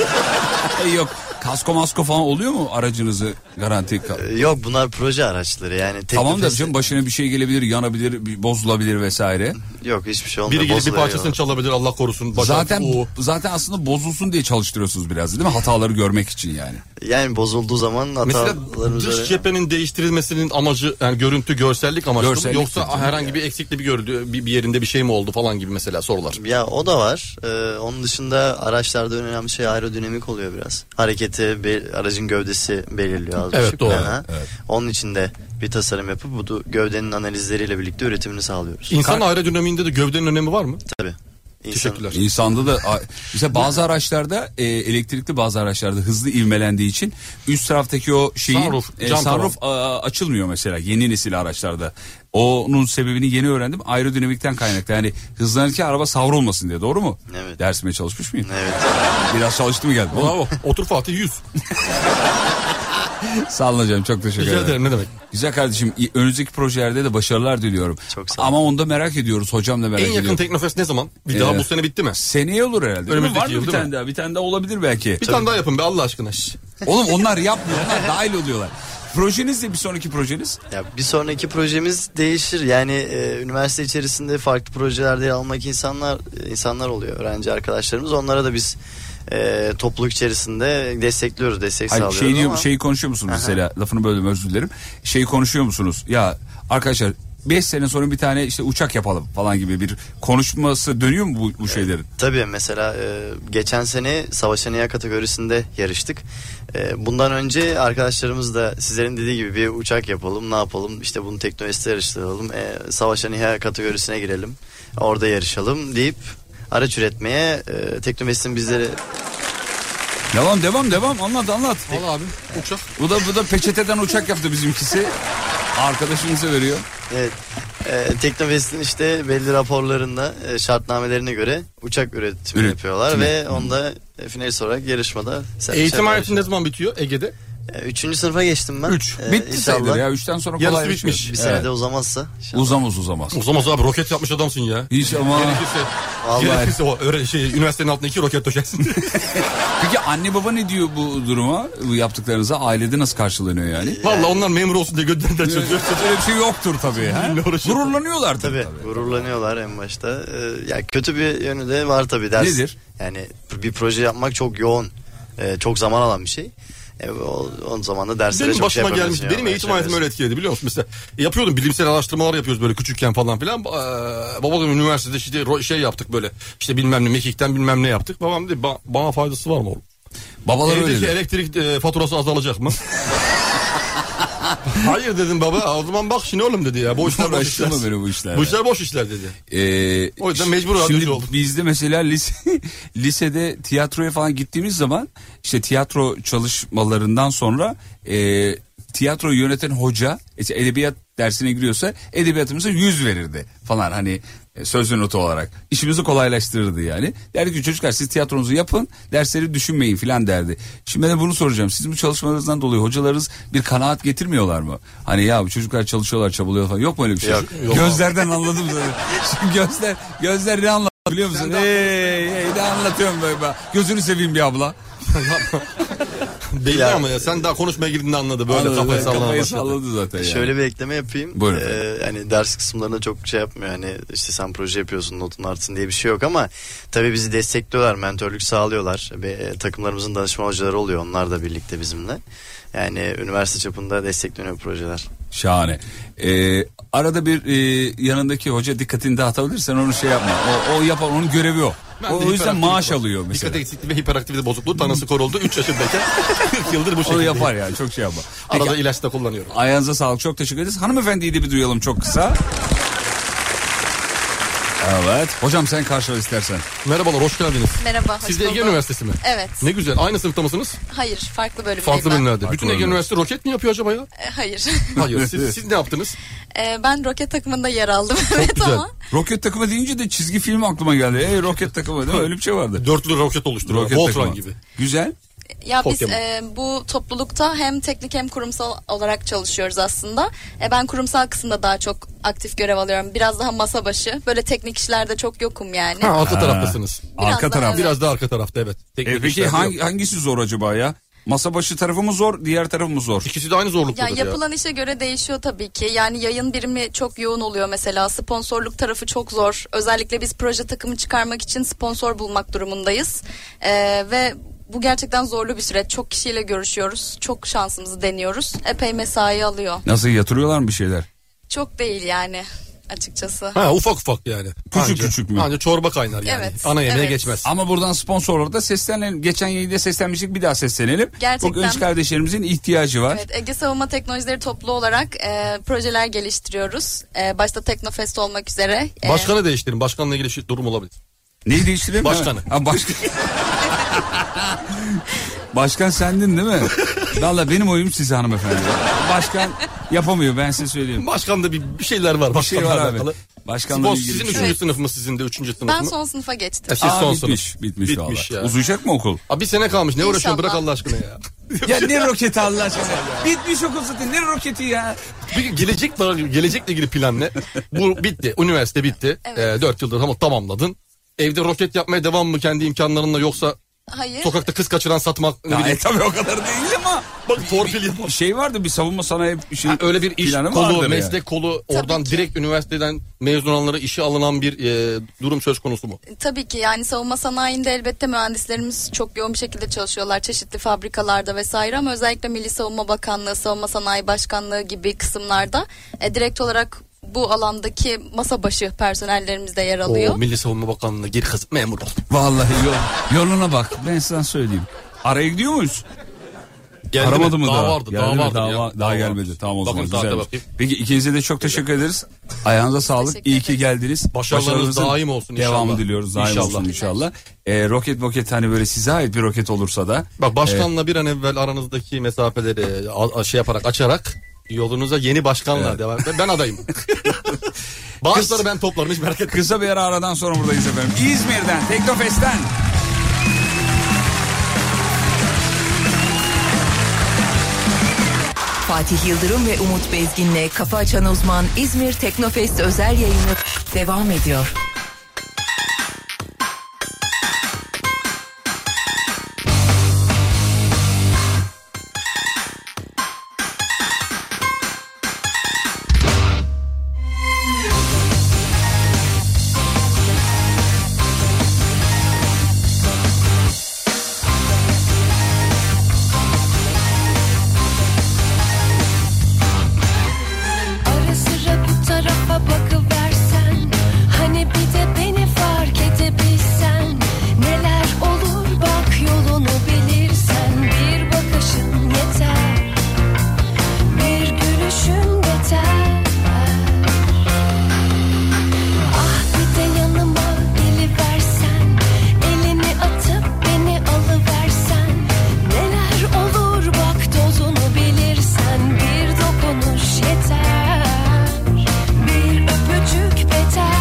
Yok. Kasko masko falan oluyor mu aracınızı garanti? ka- Ee, Yok bunlar proje araçları yani. Tamam da Teknofest- canım başına bir şey gelebilir, yanabilir, bir- bozulabilir vesaire. Yok hiçbir şey olmuyor. Biri gelip bir bozuluyor. parçasını çalabilir Allah korusun. Başar- Zaten Oo. zaten aslında bozulsun diye çalıştırıyorsunuz biraz değil mi? Hataları görmek için yani. Yani bozulduğu zaman Mesela hatalarımız dış cephenin değiştirilmesinin amacı yani görüntü görsellik amaçlı mı? Görsellik yoksa tabii herhangi bir eksikli bir gördü bir, bir yerinde bir şey mi oldu falan gibi mesela sorular. Ya o da var. Ee, onun dışında araçlarda en önemli şey aerodinamik oluyor biraz. Hareketi be- aracın gövdesi belirliyor az Evet, buçuk. doğru. Aha. Onun için de bir tasarım yapıp bu da- gövdenin analizleriyle birlikte üretimini sağlıyoruz. İnsan aerodinamiğinde de gövdenin önemi var mı? Tabii. İnsan- Teşekkürler. İnsanda da a- mesela bazı araçlarda e, elektrikli bazı araçlarda hızlı ivmelendiği için üst taraftaki o şeyin e, Sunroof, cam sunroof, a- açılmıyor mesela yeni nesil araçlarda. Onun sebebini yeni öğrendim. Aerodinamikten kaynaklı. Yani hızlanırken araba savrulmasın diye doğru mu? Evet. Dersime çalışmış mıyım? Evet. Biraz çalıştım geldim. Bravo. Otur Fatih 100. Sağ olun hocam çok teşekkür Rica ederim. ederim ne demek. Güzel kardeşim i- önümüzdeki projelerde de başarılar diliyorum. Çok sağ ol. Ama onu da merak ediyoruz hocam da merak En yakın ediyorum. Teknofest ne zaman? Bir daha Ee, bu sene bitti mi? Seneye olur herhalde. değil mi? Önümüzdeki Var mı yıl, bir değil tane mi? daha? Bir tane daha olabilir belki. Bir tane daha yapın be Allah aşkına. Şş. Oğlum onlar yapmıyor. Onlar dahil oluyorlar. Projeniz de bir sonraki projeniz. Ya bir sonraki projemiz değişir. Yani e, üniversite içerisinde farklı projelerde yer almak insanlar e, insanlar oluyor. Öğrenci arkadaşlarımız. Onlara da biz e, topluluk içerisinde destekliyoruz, destek Hayır, sağlıyoruz şey diyor, ama şeyi konuşuyor musunuz mesela? Lafını böldüm özür dilerim. Şeyi konuşuyor musunuz? Ya arkadaşlar 5 sene sonra bir tane işte uçak yapalım falan gibi bir konuşması dönüyor mu bu, bu şeylerin? Tabii mesela e, geçen sene Savaşan İHA kategorisinde yarıştık. E, bundan önce arkadaşlarımız da sizlerin dediği gibi bir uçak yapalım, ne yapalım, işte bunu teknolojiste yarıştıralım, e, Savaşan İHA kategorisine girelim, orada yarışalım deyip araç üretmeye e, teknomesinin bizlere Devam devam devam anlat anlat. Al abi uçak. Bu da bu da peçeteden uçak yaptı bizimkisi. Arkadaşımıza veriyor. evet, e, Teknofest'in işte belli raporlarında e, şartnamelerine göre uçak üretimi Üret- yapıyorlar Timi. ve onda e, finalist olarak yarışmada sen- Eğitim sen- hayatı ne zaman bitiyor Ege'de? E, Üçüncü sınıfa geçtim ben. Üç. E, Bitti inşallah sayılır ya. Üçten sonra Yarısı kolay bir şey. bitmiş. Bir senede Evet. uzamazsa. inşallah. Uzamaz uzamaz. Uzamaz abi roket yapmış adamsın ya. Hiç ama. Gerekirse, Vallahi. gerekirse o öyle şey, üniversitenin altına iki roket döşersin. Peki anne baba ne diyor bu duruma? Bu yaptıklarınıza ailede nasıl karşılanıyor yani? Valla onlar memur olsun diye gönderdiler çocuğu. Öyle bir şey yoktur tabii. ha? Dinle uğraşıyor. Gururlanıyorlar tabii. Tabii, tabii. gururlanıyorlar en başta. Ee, ya kötü bir yönü de var tabii ders. Nedir? Yani bir proje yapmak çok yoğun, e, çok zaman alan bir şey. E, o, onun zaman da derslere Benim çok şey başıma yapamıyorsun gelmiş. ya, Benim ben eğitim şey hayatım öyle yapıyorsun. etkiledi biliyor musun? Mesela e, yapıyordum bilimsel araştırmalar yapıyoruz böyle küçükken falan filan. Ee, babam üniversitede işte ro- şey yaptık böyle. İşte bilmem ne mekikten bilmem ne yaptık. Babam dedi "Ba- bana faydası var mı oğlum? Babalar öyle Evdeki diyor. elektrik e, faturası azalacak mı? Hayır dedim baba. O zaman bak şimdi oğlum dedi ya. Bu işler boş işler. Uğraştırma beni bu işlerle. Bu işler boş işler dedi. Ee, O yüzden ş- mecbur radyocu şimdi oldum. Bizde mesela lise, lisede tiyatroya falan gittiğimiz zaman işte tiyatro çalışmalarından sonra e, tiyatro yöneten hoca e, işte edebiyat dersine giriyorsa edebiyatımıza 100 verirdi falan hani e, sözlü notu olarak. İşimizi kolaylaştırırdı yani. Derdi ki çocuklar siz tiyatronuzu yapın dersleri düşünmeyin filan derdi. Şimdi ben de bunu soracağım. Sizin bu çalışmalarınızdan dolayı hocalarınız bir kanaat getirmiyorlar mı? Hani ya bu çocuklar çalışıyorlar çabalıyor falan yok mu öyle bir şey? Yok, yok. Gözlerden anladım zaten. Şimdi gözler, gözler ne anlat biliyor musun? Hey, hey ne anlatıyorum böyle ben. Gözünü seveyim bir abla. Belli Ya- ama ya sen daha konuşmaya girdiğinde anladı. Böyle Anladı, kafayı sallamaya kafayı başladı. salladı zaten yani. Şöyle bir ekleme yapayım. Buyurun. Ee, hani ders kısımlarında çok şey yapmıyor. Hani işte sen proje yapıyorsun notun artsın diye bir şey yok ama tabii bizi destekliyorlar, mentörlük sağlıyorlar. Ve e, takımlarımızın danışma hocaları oluyor. Onlar da birlikte bizimle. Yani üniversite çapında destekleniyor projeler. Şahane. Ee, arada bir e, yanındaki hoca dikkatini dağıtabilirsen onu şey yapma. O, o yapar onun görevi o. Ben O, de o yüzden hiperaktivite maaş bozuk- alıyor mesela. Dikkat eksikliği ve hiperaktivite bozukluğu tanısı koruldu. 3 yaşındayken 40 yıldır bu Onu şekilde. yapar yani çok şey yapma. Peki, Arada ilaç da kullanıyorum. Ayağınıza sağlık. Çok teşekkür ederiz. Hanımefendiyi de bir duyalım çok kısa. Evet. Hocam sen karşıla istersen. Merhabalar hoş geldiniz. Merhaba. hoş Siz de Ege bulduk. Üniversitesi mi? Evet. Ne güzel. Aynı sınıfta mısınız? Hayır farklı bölümdeyim Farklı ben. bölümlerde. Farklı Bütün Ege bölümler. Üniversitesi roket mi yapıyor acaba ya? E, Hayır. Hayır. Siz, siz ne yaptınız? E, ben roket takımında yer aldım. evet güzel. ama Roket takımı deyince de çizgi film aklıma geldi. Ey roket takımı değil mi? Öyle bir şey vardı. Dörtlü roket oluşturuyor. Roket Voltron takımı. gibi. Güzel. ya biz Pokemon. e, bu toplulukta hem teknik hem kurumsal olarak çalışıyoruz aslında. E, ben kurumsal kısımda daha çok aktif görev alıyorum. Biraz daha masa başı. Böyle teknik işlerde çok yokum yani. Ha, arka taraftasınız. Biraz Arka daha taraf. evet. Biraz da arka tarafta evet. Teknik E peki işlerde hangi, yok. hangisi zor acaba ya? Masa başı tarafı mı zor, diğer tarafı mı zor? İkisi de aynı zorlukta. Ya yapılan işe göre değişiyor tabii ki. Yani yayın birimi çok yoğun oluyor mesela. Sponsorluk tarafı çok zor. Özellikle biz proje takımı çıkarmak için sponsor bulmak durumundayız. Ee, ve bu gerçekten zorlu bir süreç. Çok kişiyle görüşüyoruz. Çok şansımızı deniyoruz. Epey mesai alıyor. Nasıl yatırıyorlar mı bir şeyler? Çok değil yani açıkçası. Ha ufak ufak yani. Küçük küçük mü? Anca çorba kaynar yani. Evet, Ana yemeğe evet. geçmez. Ama buradan sponsorlara da seslenelim. Geçen yayında seslenmiştik bir daha seslenelim. Gerçekten. Bu genç kardeşlerimizin ihtiyacı var. Evet, Ege Savunma Teknolojileri toplu olarak e, projeler geliştiriyoruz. E, başta Teknofest olmak üzere. E, Başkanı değiştirin. Başkanla ilgili şey- durum olabilir. Neyi değiştirelim? Başkanı. Ha, başkan. başkan sendin değil mi? Valla benim oyum size hanımefendi. Başkan yapamıyor ben size söyleyeyim. Başkanda bir, bir şeyler var. Bir şey Başkanla var abi. alakalı. Başkanla Boz ilgili. bir sizin şey. üçüncü sınıf mı sizin de üçüncü sınıf ben mı? son sınıfa geçtim. Ya siz Aa, son bitmiş, sınıf. bitmiş, Bitmiş valla. ya. Uzayacak mı okul? Abi bir sene kalmış. Ne uğraşıyorsun İnşallah. bırak Allah aşkına ya. ya ne roketi Allah aşkına? Bitmiş okul zaten ne roketi ya? Peki gelecek gelecekle ilgili plan ne? Bu bitti. Üniversite bitti. Ee, Evet. 4 yıldır tam, tamamladın. Evde roket yapmaya devam mı kendi imkanlarınla yoksa Hayır. Sokakta kız kaçıran satmak. ne Ya, bileyim. e, tabii o kadar değil ama Bak torpil yap. şey vardı bir savunma sanayi şey, Ha, öyle bir iş planı vardır kolu, yani. meslek kolu oradan direkt üniversiteden mezun olanlara işe alınan bir e, durum söz konusu mu? Tabii ki yani savunma sanayinde elbette mühendislerimiz çok yoğun bir şekilde çalışıyorlar çeşitli fabrikalarda vesaire ama özellikle Milli Savunma Bakanlığı, Savunma Sanayi Başkanlığı gibi kısımlarda e, direkt olarak bu alandaki masa başı personellerimiz de yer alıyor. O Milli Savunma Bakanlığı'na geri kazık memur ol. Vallahi yol, yoluna bak ben sana söyleyeyim. Araya gidiyor muyuz? Geldi Aramadı mı daha? daha? vardı, Geldi daha mi? vardı. Daha, ya. var- daha gelmedi. Tamam o zaman Bakın saate güzelmiş. bakayım. Peki ikinize de çok teşekkür ederiz. Ayağınıza sağlık. teşekkür İyi ki geldiniz. Başarılarınız Başarılarınızın daim olsun inşallah. Devamı diliyoruz. Daim İnşallah. olsun inşallah. Ee, roket roket hani böyle size ait bir roket olursa da. Bak başkanla bir an evvel aranızdaki mesafeleri a- a- şey yaparak açarak yolunuza yeni başkanla devam. Ben, ben adayım. Bağışları ben toplarım hiç merak etme. Kısa bir ara aradan sonra buradayız efendim. Ee, İzmir'den, Teknofest'ten. Fatih Yıldırım ve Umut Bezgin'le Kafa Açan Uzman İzmir Teknofest özel yayını devam ediyor. Ara sıra bu tarafa bakıversen Hani bir de beni fark edebilsen Neler olur bak yolunu bilirsen Bir bakışın yeter Bir gülüşün yeter Ah bir de yanıma geliversen Elini atıp beni alıversen Neler olur bak dozunu bilirsen Bir dokunuş yeter Bir öpücük beter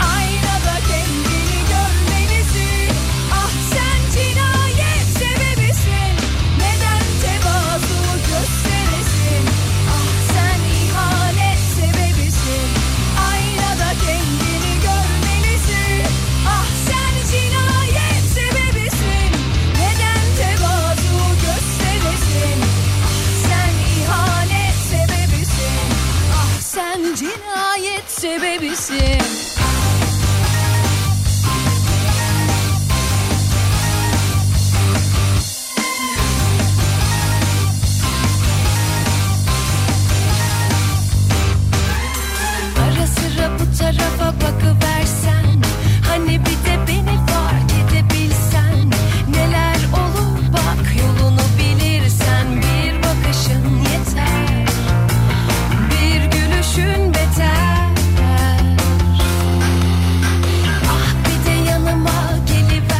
Aynada kendini görmelisin Ah sen cinayet sebebisin Neden tevazu gösteresin Ah sen ihanet sebebisin Aynada kendini görmelisin Ah sen cinayet sebebisin Neden tevazu gösteresin Ah sen ihanet sebebisin Ah sen cinayet sebebisin Ara sıra bu tarafa bakıversen Hani bir de beni fark edebilsen Neler olur bak yolunu bilirsen Bir bakışın yeter Bir gülüşün beter Ah bir de yanıma geliversen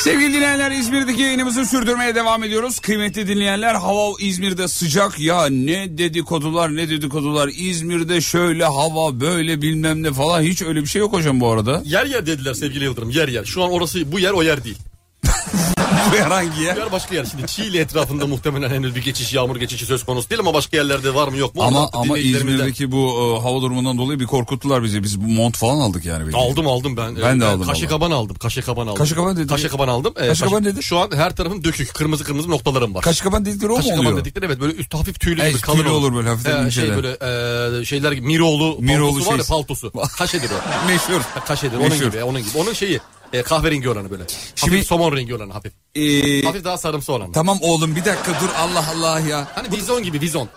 Sevgili dinleyenler İzmir'deki yayınımızı sürdürmeye devam ediyoruz. Kıymetli dinleyenler hava İzmir'de sıcak ya ne dedikodular ne dedikodular. İzmir'de şöyle hava böyle bilmem ne falan hiç öyle bir şey yok hocam bu arada. Yer yer dediler sevgili Yıldırım yer yer. Şu an orası bu yer o yer değil. Bu herhangi yer. Bu yer başka yer. Şimdi Çiğli etrafında muhtemelen henüz bir geçiş yağmur geçişi söz konusu değil ama başka yerlerde var mı yok mu? Ama Onlar da ama dinleyicilerimizden- İzmir'deki bu e, hava durumundan dolayı bir korkuttular bizi. Biz bu mont falan aldık yani. belli. Aldım aldım ben. Ben de aldım Kaşı vallahi. kaban aldım. Kaşı kaban aldım. Kaşıkaban dedi. Kaşı kaban aldım. Ee, Kaşıkaban kaşı- dedi. Şu an her tarafım dökük. Kırmızı kırmızı noktalarım var. Kaşı kapan dedikleri o mu Kaşı oluyor? kaban dedikleri evet böyle üst hafif tüylü Evet, gibi kalın tüylü olur böyle hafiften Ee, şey inceler. böyle e, şeyler gibi Miroğlu, Miroğlu paltosu var ya şeysi. paltosu. Kaşedir o. Meşhur. Kaşedir onun Meşhur. gibi onun gibi. Onun şeyi e, kahverengi olanı böyle. Şimdi- hafif somon rengi olanı hafif. Ee, Hafif daha sarımsı olanı. tamam oğlum bir dakika dur Allah Allah ya. Hani vizon gibi vizon.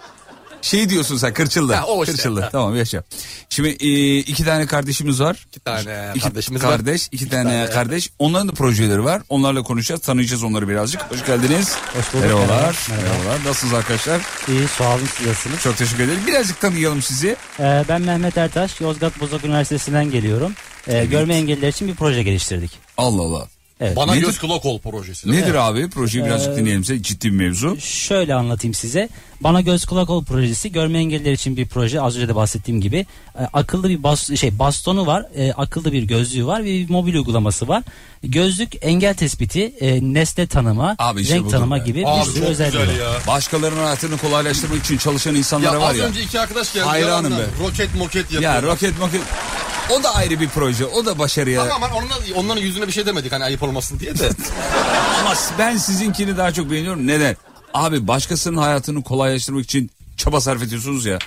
Şey diyorsun sen kırçıllı. Ha, o işte. Kırçıllı. Ha. Tamam yaşa. Şimdi e, iki tane kardeşimiz var. İki tane İki kardeşimiz var. kardeş, iki, tane, kardeş. Onların da projeleri var. Onlarla konuşacağız, tanıyacağız onları birazcık. Hoş geldiniz. Hoş bulduk. Merhabalar. Merhaba. Merhabalar. Nasılsınız arkadaşlar? İyi sağ olun siz nasılsınız? Çok teşekkür ederim. Birazcık tanıyalım sizi. Ee, Ben Mehmet Ertaş, Yozgat Bozok Üniversitesi'nden geliyorum. Ee, Görme engelliler için bir proje geliştirdik. Allah Allah. Bana Nedir- göz kulak ol projesi. Nedir Evet. abi? Projeyi birazcık Ee, dinleyelim. Sen ciddi bir mevzu. Şöyle anlatayım size. Bana Göz Kulak Ol projesi görme engelliler için bir proje. Az önce de bahsettiğim gibi. E, akıllı bir bas- şey bastonu var. e, akıllı bir gözlüğü var ve bir mobil uygulaması var. Gözlük engel tespiti, e, nesne tanıma, Abi işte renk Şey buldum tanıma ben. gibi bir sürü özelliği var. Başkalarının hayatını kolaylaştırmak için çalışan insanlara Ya var az ya. önce iki arkadaş geldi. Hayranım yalandan. be. Roket moket yapıyor. Ya roket moket. O da ayrı bir proje. O da başarıya. Tamam ama onların, onların yüzüne bir şey demedik hani ayıp olmasın diye de. Ama ben sizinkini daha çok beğeniyorum. Neden? Abi başkasının hayatını kolaylaştırmak için çaba sarf ediyorsunuz ya.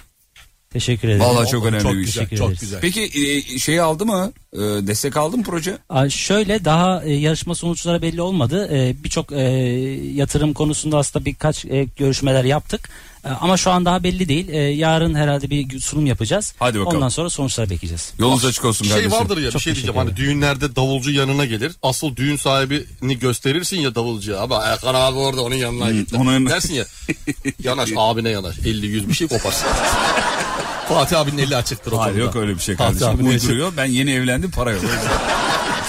Teşekkür ederim. Vallahi çok önemli bir şey. iş. Teşekkür ederiz. Peki e, şey aldı mı? E, destek aldı mı proje? Aa, Şöyle daha e, yarışma sonuçları belli olmadı. E, Birçok e, yatırım konusunda aslında birkaç e, görüşmeler yaptık. E, Ama şu an daha belli değil. E, Yarın herhalde bir sunum yapacağız. Hadi bakalım. Ondan sonra sonuçları bekleyeceğiz. Yolunuz açık olsun Bir şey kardeşim. vardır ya bir Çok şey diyeceğim. teşekkür Hani düğünlerde davulcu yanına gelir. Asıl düğün sahibini gösterirsin ya davulcuya. Ama Erkan abi orada onun yanına gitti. Dersin ya. Yanaş abine yanaş. 50-100 bir şey koparsın. Fatih abinin eli açıktır o Hayır konuda. yok öyle bir şey Fatih kardeşim. abinin eli- Uyduruyor. Ben yeni evlendim para yok.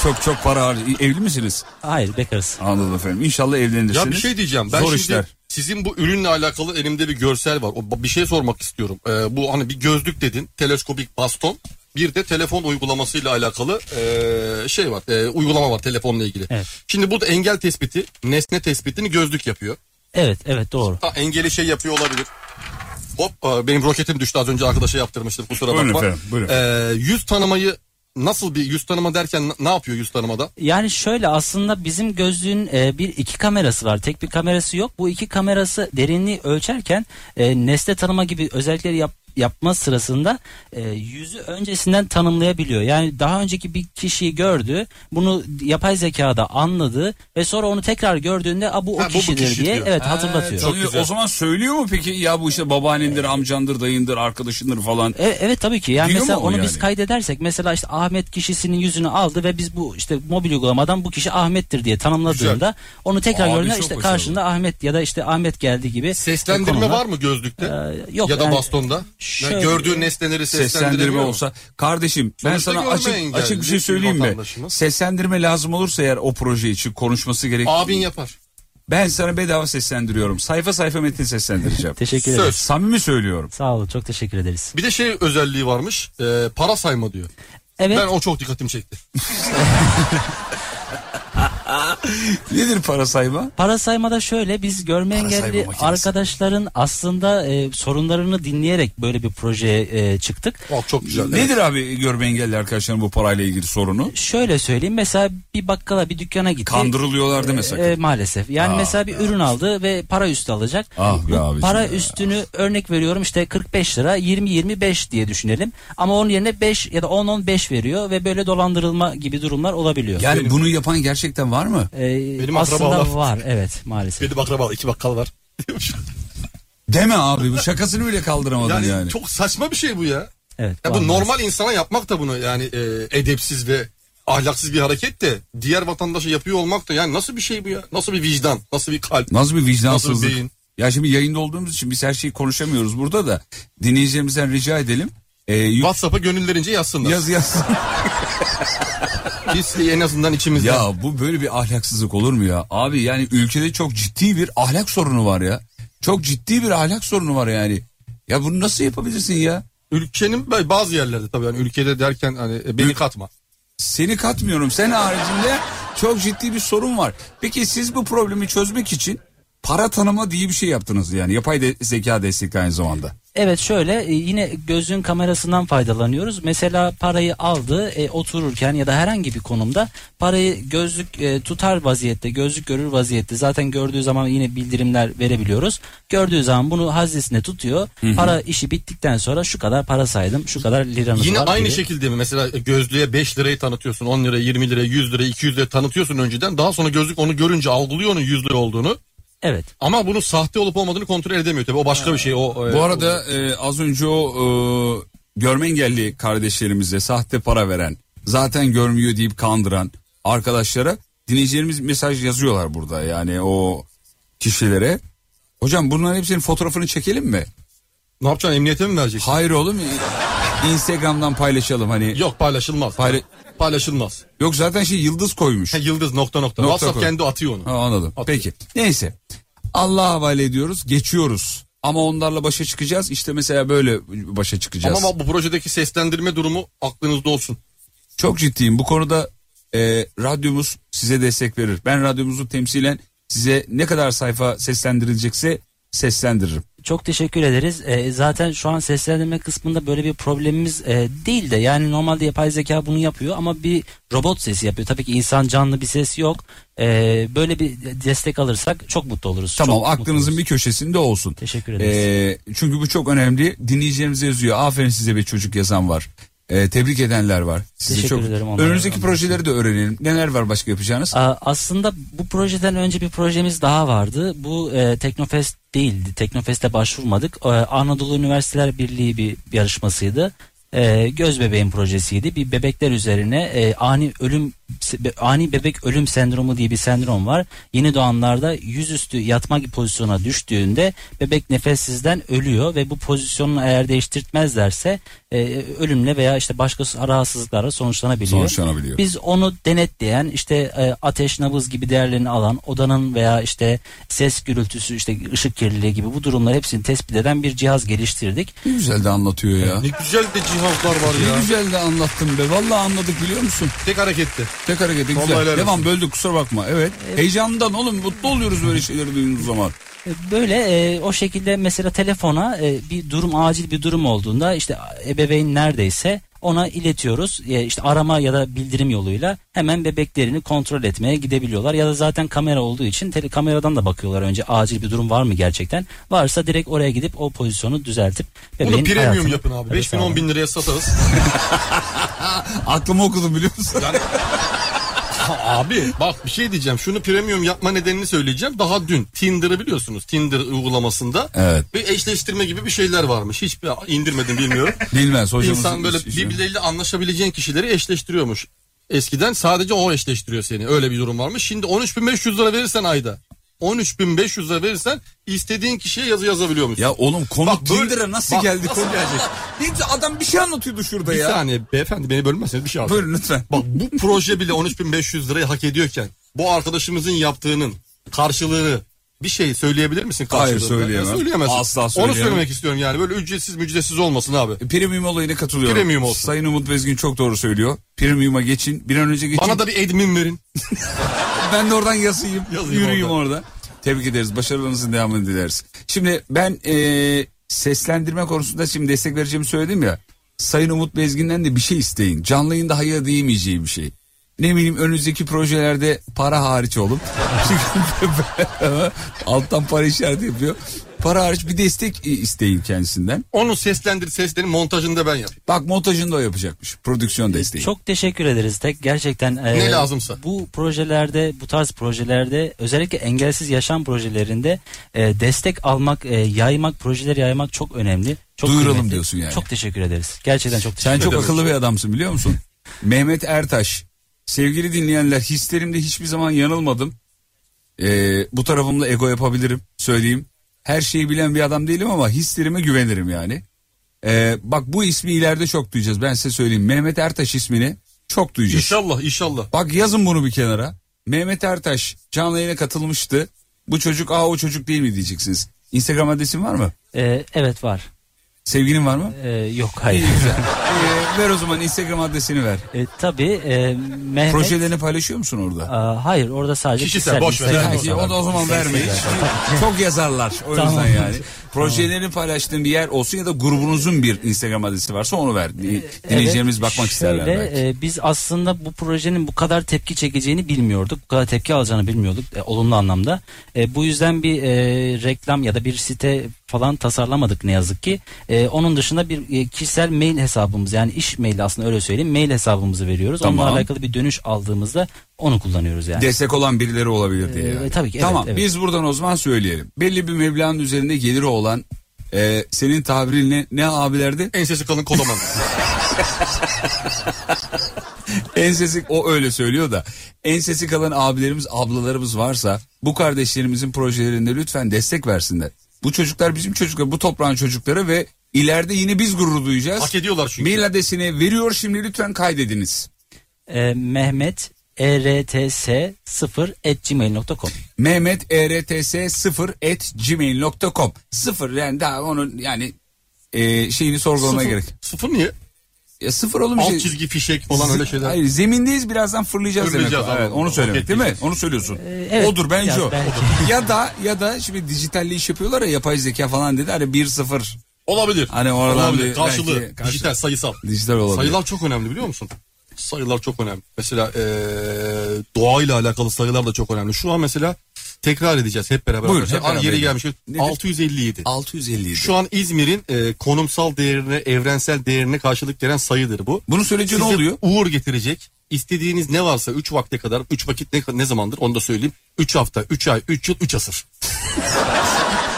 çok çok para har- Evli misiniz? Hayır bekarız. Anladım efendim. İnşallah evlenirsiniz. Ya bir şey diyeceğim. Ben Zor şimdi işler. sizin bu ürünle alakalı elimde bir görsel var. O- Bir şey sormak istiyorum. Ee, bu hani bir gözlük dedin, teleskopik baston. Bir de telefon uygulamasıyla alakalı ee, şey var, ee, uygulama var telefonla ilgili. Şimdi burada engel tespiti, nesne tespitini gözlük yapıyor. Evet evet doğru. Ha, engeli şey yapıyor olabilir. Hop e, benim roketim düştü az önce arkadaşa yaptırmıştım kusura bakma. Buyurun efendim, buyurun. Ee, yüz tanımayı nasıl bir yüz tanıma derken n- ne yapıyor yüz tanımada? Yani şöyle aslında bizim gözlüğün e, bir iki kamerası var. Tek bir kamerası yok. Bu iki kamerası derinliği ölçerken e, nesne tanıma gibi özellikleri yap- yapma sırasında e, yüzü öncesinden tanımlayabiliyor. Yani daha önceki bir kişiyi gördü, bunu yapay zekada anladı ve sonra onu tekrar gördüğünde "A, bu o Ha, bu bu kişidir kişi diye diyor. evet Ha, hatırlatıyor. tanıyor. o zaman söylüyor mu peki ya bu işte babaannendir, amcandır, dayındır, arkadaşındır falan. E, evet tabii ki. Yani Diyor mesela mu o onu yani? biz kaydedersek mesela işte Ahmet kişisinin yüzünü aldı ve biz bu işte mobil uygulamadan bu kişi Ahmet'tir diye tanımladığında onu tekrar Abi, gördüğünde çok işte başarılı. karşında Ahmet ya da işte Ahmet geldi gibi. Seslendirme konular- var mı gözlükte? yok, Ya da yani bastonda? Yani şöyle- gördüğü nesneleri Seslendirme olsa. Kardeşim ben Sonuçta sana görme açık engelli açık bir şey bir söyleyeyim mi? vatandaşımız. Seslendirme lazım olursa eğer o proje için konuşması gerekiyor. Abin yapar. Ben sana bedava seslendiriyorum. Sayfa sayfa metin seslendireceğim. Teşekkür ederim. Söz. Samimi söylüyorum. Sağ olun çok teşekkür ederiz. Bir de şey özelliği varmış. e, para sayma diyor. Evet. Ben o çok dikkatimi çekti. Nedir para sayma? Para saymada şöyle biz görme engelli arkadaşların aslında e, sorunlarını dinleyerek böyle bir projeye e, çıktık. çok güzel. Nedir abi görme engelli arkadaşların bu parayla ilgili sorunu? Şöyle söyleyeyim E, mesela bir bakkala bir dükkana gitti. Kandırılıyorlar değil mi sakın? E, maalesef. Yani Aa, mesela bir ürün aldı ve para üstü alacak. Ah be abi. Para üstünü örnek veriyorum işte 45 lira 20-25 diye düşünelim. Ama onun yerine 5 ya da 10-15 veriyor ve böyle dolandırılma gibi durumlar olabiliyor. Yani bunu yapan gerçekten var mı? Ee, Benim aslında akrabalar- var evet maalesef. Benim akraba iki bakkal var. Deme abi bu şakasını bile kaldıramadın yani. Yani, çok saçma bir şey bu ya. Evet. Ya bu vallahi. normal insana yapmak da bunu yani e, edepsiz ve ahlaksız bir hareket de diğer vatandaşa yapıyor olmak da yani nasıl bir şey bu ya? Nasıl bir vicdan? Nasıl bir kalp? Nasıl bir Nasıl vicdansızlık? bir beyin? ya şimdi yayında olduğumuz için biz her şeyi konuşamıyoruz burada da dinleyicilerimizden rica edelim. Ee, WhatsApp'a gönüllerince yazsınlar. Yaz yazsın. Biz en azından içimizden. Ya bu böyle bir ahlaksızlık olur mu ya? Abi yani ülkede çok ciddi bir ahlak sorunu var ya. Çok ciddi bir ahlak sorunu var yani. Ya bunu nasıl yapabilirsin ya? Ülkenin bazı yerlerde tabii yani ülkede derken hani e, beni katma. Seni katmıyorum. Sen haricinde çok ciddi bir sorun var. Peki siz bu problemi çözmek için para tanıma diye bir şey yaptınız yani. Yapay de- zeka destekli aynı zamanda. Evet şöyle e, yine gözün kamerasından faydalanıyoruz. Mesela parayı aldı e, otururken ya da herhangi bir konumda parayı gözlük e, tutar vaziyette gözlük görür vaziyette zaten gördüğü zaman yine bildirimler verebiliyoruz. Gördüğü zaman bunu haznesine tutuyor. Hı hı. Para işi bittikten sonra şu kadar para saydım şu kadar liranız Yine var aynı gibi. şekilde mi? Mesela gözlüğe 5 lirayı tanıtıyorsun, 10 lira, 20 lira, 100 lira, 200 lira tanıtıyorsun önceden. Daha sonra gözlük onu görünce algılıyor onun 100 lira olduğunu. Evet. Ama bunun sahte olup olmadığını kontrol edemiyor tabii. O başka bir şey. O e, Bu arada e, az önce o e, görme engelli kardeşlerimize sahte para veren, zaten görmüyor deyip kandıran arkadaşlara dinleyicilerimiz mesaj yazıyorlar burada yani o kişilere. Hocam bunların hepsinin fotoğrafını çekelim mi? Ne yapacaksın emniyete mi vereceksin? Hayır oğlum. Instagram'dan paylaşalım hani. Yok paylaşılmaz. paylaşılmaz. Yok zaten şey yıldız koymuş. yıldız nokta nokta. WhatsApp kendi atıyor onu. Ha, anladım. Peki. Neyse. Allah'a havale ediyoruz. Geçiyoruz. Ama onlarla başa çıkacağız. İşte mesela böyle başa çıkacağız. Ama bu projedeki seslendirme durumu aklınızda olsun. Çok ciddiyim. Bu konuda e, radyomuz size destek verir. Ben radyomuzu temsilen size ne kadar sayfa seslendirilecekse seslendiririm. Çok teşekkür ederiz. Ee, zaten şu an seslendirme kısmında böyle bir problemimiz e, değil de yani normalde yapay zeka bunu yapıyor ama bir robot sesi yapıyor. Tabii ki insan canlı bir ses yok. Ee, böyle bir destek alırsak çok mutlu oluruz. Tamam Çok mutlu aklınızın bir köşesinde olsun. Teşekkür ederiz. çünkü bu çok önemli. Dinleyicilerimize yazıyor. Aferin size bir çocuk yazan var. Ee, tebrik edenler var. Sizi Teşekkür çok... ederim onlara. Önümüzdeki projeleri de öğrenelim. Neler var başka yapacağınız? Aa, Aslında bu projeden önce bir projemiz daha vardı. Bu e, Teknofest değildi. Teknofest'e başvurmadık. Ee, Anadolu Üniversiteler Birliği bir yarışmasıydı. Ee, göz bebeğin projesiydi. Bir bebekler üzerine e, ani ölüm se- be- ani bebek ölüm sendromu diye bir sendrom var. Yeni doğanlarda yüzüstü yatma gibi pozisyona düştüğünde bebek nefessizden ölüyor ve bu pozisyonunu eğer değiştirtmezlerse e, ölümle veya işte başka rahatsızlıklarla sonuçlanabiliyor. Sonuçlanabiliyor. Biz onu denetleyen işte e, ateş nabız gibi değerlerini alan odanın veya işte ses gürültüsü işte ışık kirliliği gibi bu durumları hepsini tespit eden bir cihaz geliştirdik. Ne güzel de anlatıyor ya. Ne güzel de cihazlar var Ne ya. güzel de anlattın be. Vallahi anladık biliyor musun? Tek hareketti. Tek harekette Vallahi güzel. helal Devam olsun. böldük kusura bakma. Evet. Heyecandan oğlum mutlu oluyoruz böyle şeyleri duyduğumuz zaman. Böyle e, o şekilde mesela telefona e, bir durum acil bir durum olduğunda işte ebeveyn neredeyse ona iletiyoruz. E, işte arama ya da bildirim yoluyla hemen bebeklerini kontrol etmeye gidebiliyorlar. Ya da zaten kamera olduğu için tele, kameradan da bakıyorlar önce acil bir durum var mı gerçekten. Varsa direkt oraya gidip o pozisyonu düzeltip bebeğin Bunu premium hayatını- yapın abi. Tabii 5 bin sağ olun. 10 bin liraya satarız. Aklımı okudum biliyor musun? abi bak bir şey diyeceğim. Şunu premium yapma nedenini söyleyeceğim. Daha dün Tinder'ı biliyorsunuz. Tinder uygulamasında Evet. bir eşleştirme gibi bir şeyler varmış. Hiç indirmedim bilmiyorum. Bilmez hocamız. İnsan böyle birbirleriyle anlaşabileceğin kişileri eşleştiriyormuş. Eskiden sadece o eşleştiriyor seni. Öyle bir durum varmış. Şimdi 13.500 lira verirsen ayda. 13.500 lira verirsen istediğin kişiye yazı yazabiliyormuşsun. Ya oğlum konu Tinder'a nasıl geldi Nasıl konu? gelecek? Neyse, adam bir şey anlatıyordu şurada Bir ya. saniye beyefendi beni bölmezseniz bir şey anlatayım. Buyurun lütfen. Bak bu proje bile 13.500 lirayı hak ediyorken bu arkadaşımızın yaptığının karşılığını bir şey söyleyebilir misin karşılığında? Hayır, söyleyemem. Ya, Söyleyemezsin. Asla Onu söyleyemem. E, söylemek istiyorum yani böyle ücretsiz mücretsiz olmasın abi. Premium olayına katılıyorum. Premium olsun. Sayın Umut Bezgin çok doğru söylüyor. Premium'a geçin. Bir an önce geçin. Bana da bir admin verin. ben de oradan yazayım. Yazayım yürüyeyim orada. Tebrik ederiz. Başarılarınızın devamını dileriz. Şimdi ben eee, seslendirme konusunda şimdi destek vereceğimi söyledim ya. Sayın Umut Bezgin'den de bir şey isteyin. Canlı yayında hayır diyemeyeceği bir şey. Ne bileyim önünüzdeki projelerde para hariç olun. Çünkü alttan para işareti yapıyor. Para hariç bir destek e, isteyin kendisinden. Onu seslendir seslerin montajını da ben yapayım. Bak montajını da o yapacakmış. Prodüksiyon desteği. Çok teşekkür ederiz tek gerçekten. e, Ne lazımsa. Bu projelerde, bu tarz projelerde özellikle engelsiz yaşam projelerinde e, destek almak, e, yaymak, projeleri yaymak çok önemli. Çok Duyuralım diyorsun yani. Çok teşekkür ederiz. Gerçekten çok teşekkür Sen çok ederiz. akıllı bir adamsın biliyor musun? Mehmet Ertaş. Sevgili dinleyenler hislerimde hiçbir zaman yanılmadım. Ee, bu tarafımla ego yapabilirim söyleyeyim. Her şeyi bilen bir adam değilim ama hislerime güvenirim yani. Ee, bak bu ismi ileride çok duyacağız ben size söyleyeyim. Mehmet Ertaş ismini çok duyacağız. İnşallah inşallah. Bak yazın bunu bir kenara. Mehmet Ertaş canlı yayına katılmıştı. Bu çocuk aa o çocuk değil mi diyeceksiniz. Instagram adresin var mı? E, evet var. Sevgilin var mı? E, yok hayır. Ee, ver o zaman Instagram adresini ver. E, tabii e, Mehmet. Projelerini paylaşıyor musun orada? Aa, hayır orada sadece Kişisel, boş ver, Instagram ver. Belki hesabı. o da o zaman vermeyin. Çok yazarlar o yüzden Tamam. yani. Projelerini paylaştığın bir yer olsun ya da grubunuzun bir Instagram adresi varsa onu ver. Dinleyicilerimiz Evet, bakmak isterler şöyle, belki. e, biz aslında bu projenin bu kadar tepki çekeceğini bilmiyorduk. Bu kadar tepki alacağını bilmiyorduk e, olumlu anlamda. E, bu yüzden bir e, reklam ya da bir site falan tasarlamadık ne yazık ki. E, onun dışında bir e, kişisel mail hesabımız yani iş maili aslında öyle söyleyeyim mail hesabımızı veriyoruz. Tamam. Onunla alakalı bir dönüş aldığımızda onu kullanıyoruz yani. Destek olan birileri olabilir diye. E, yani. tabii ki, evet, Tamam evet. biz buradan o zaman söyleyelim. Belli bir meblağın üzerinde geliri olan e, senin tabirinle ne abilerdi? Ensesi kalın kolaman. Ensesi o öyle söylüyor da ensesi kalan abilerimiz ablalarımız varsa bu kardeşlerimizin projelerinde lütfen destek versinler. Bu çocuklar bizim çocuklar bu toprağın çocukları ve İleride yine biz gurur duyacağız. Hak ediyorlar çünkü. Mail adresini veriyor şimdi lütfen kaydediniz. E, Mehmet E erts 0 at gmail.com Mehmet E ERTS 0 at gmail.com. Sıfır yani daha onun yani e, şeyini sorgulamaya Sıfır- gerek. Sıfır niye? Ya sıfır oğlum Alt şey- çizgi fişek falan öyle şeyler. Hayır zemindeyiz birazdan fırlayacağız, demek. Fırlayacağız, o. Evet, anladım. onu söylemek Hak değil mi? ettik. Onu söylüyorsun. Ee, evet, Odur bence biraz o. belki. ya da ya da şimdi dijitalli iş yapıyorlar ya yapay zeka falan dedi hani 1-0. Olabilir. Hani oradan Olabilir. bir- Karşılığı. belki karşı- Dijital sayısal. Dijital olabilir. Sayılar çok önemli biliyor musun? Sayılar çok önemli. Mesela eee doğayla alakalı sayılar da çok önemli. Şu an mesela tekrar edeceğiz hep beraber. Buyur, Mesela hep beraber an yeri edelim. gelmiş. Nedir? 657. 657. Şu an İzmir'in eee, konumsal değerine, evrensel değerine karşılık gelen sayıdır bu. Bunu söyleyince ne oluyor? uğur getirecek. İstediğiniz ne varsa 3 vakte kadar, 3 vakit ne, ne zamandır onu da söyleyeyim. 3 hafta, 3 ay, 3 yıl, 3 asır.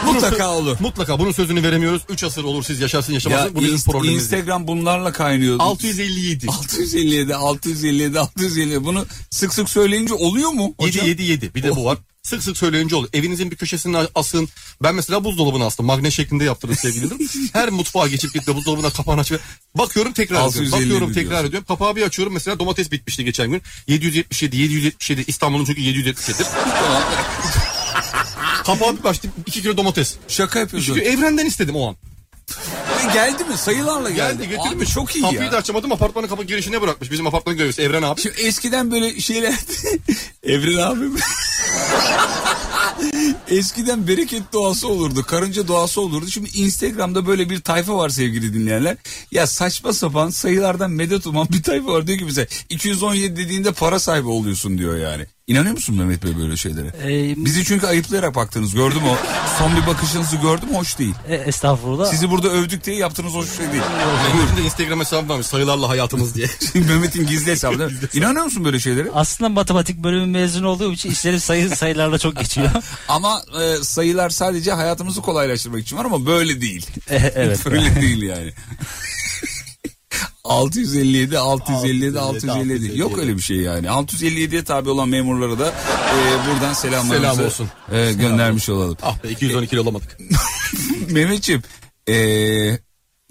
Mutlaka olur. Mutlaka bunun sözünü veremiyoruz. 3 asır olur siz yaşarsın yaşamazsın. Ya bu bizim inst- problemimiz. değil. Instagram bunlarla kaynıyordu. 657. 657 657 657 bunu sık sık söyleyince oluyor mu? 7 hocam? Oh. 7 7 bir de bu var. Sık sık söyleyince olur. Evinizin bir köşesine asın. Ben mesela buzdolabına astım. Magne şeklinde yaptırdım sevgilim. Her mutfağa geçip gittim buzdolabına kapağını açıp bakıyorum tekrar ediyorum. 657 Bakıyorum diyorsun. tekrar ediyorum. Kapağı bir açıyorum mesela domates bitmişti geçen gün. 777 777 İstanbul'un çünkü 777. Kapağı bir açtım 2 kilo domates. Şaka yapıyorsun. Çünkü evrenden istedim o an. Ve geldi mi? Sayılarla geldi. Geldi götürdü Abi mü? çok iyi Kapıyı ya. da açamadım apartmanın kapı girişine bırakmış. Bizim apartmanın görevlisi Evren abi. Şimdi eskiden böyle şeyler... Evren abim. Eskiden bereket doğası olurdu, karınca doğası olurdu. Şimdi Instagram'da böyle bir tayfa var sevgili dinleyenler. Ya saçma sapan sayılardan medet uman bir tayfa var diyor ki bize 217 dediğinde para sahibi oluyorsun diyor yani. İnanıyor musun Mehmet Bey böyle şeylere? E, Bizi çünkü ayıplayarak baktınız gördüm o. Son bir bakışınızı gördüm hoş değil. E, estağfurullah. Sizi burada övdük diye yaptığınız hoş şey değil. Mehmet'in de Instagram hesabı varmış sayılarla hayatımız diye. Mehmet'in gizli hesabı değil mi? İnanıyor musun böyle şeylere? Aslında matematik bölümü mezunu olduğum için işlerim sayı sayılarla çok geçiyor. Ama e, sayılar sadece hayatımızı kolaylaştırmak için var ama böyle değil. E, evet. Böyle değil yani. 657 657 657 yok öyle bir şey yani. 657'ye tabi olan memurlara da e, buradan selamlarımızı Selam olsun. e, göndermiş olalım. Ah be 212 olamadık. Mehmetçim e,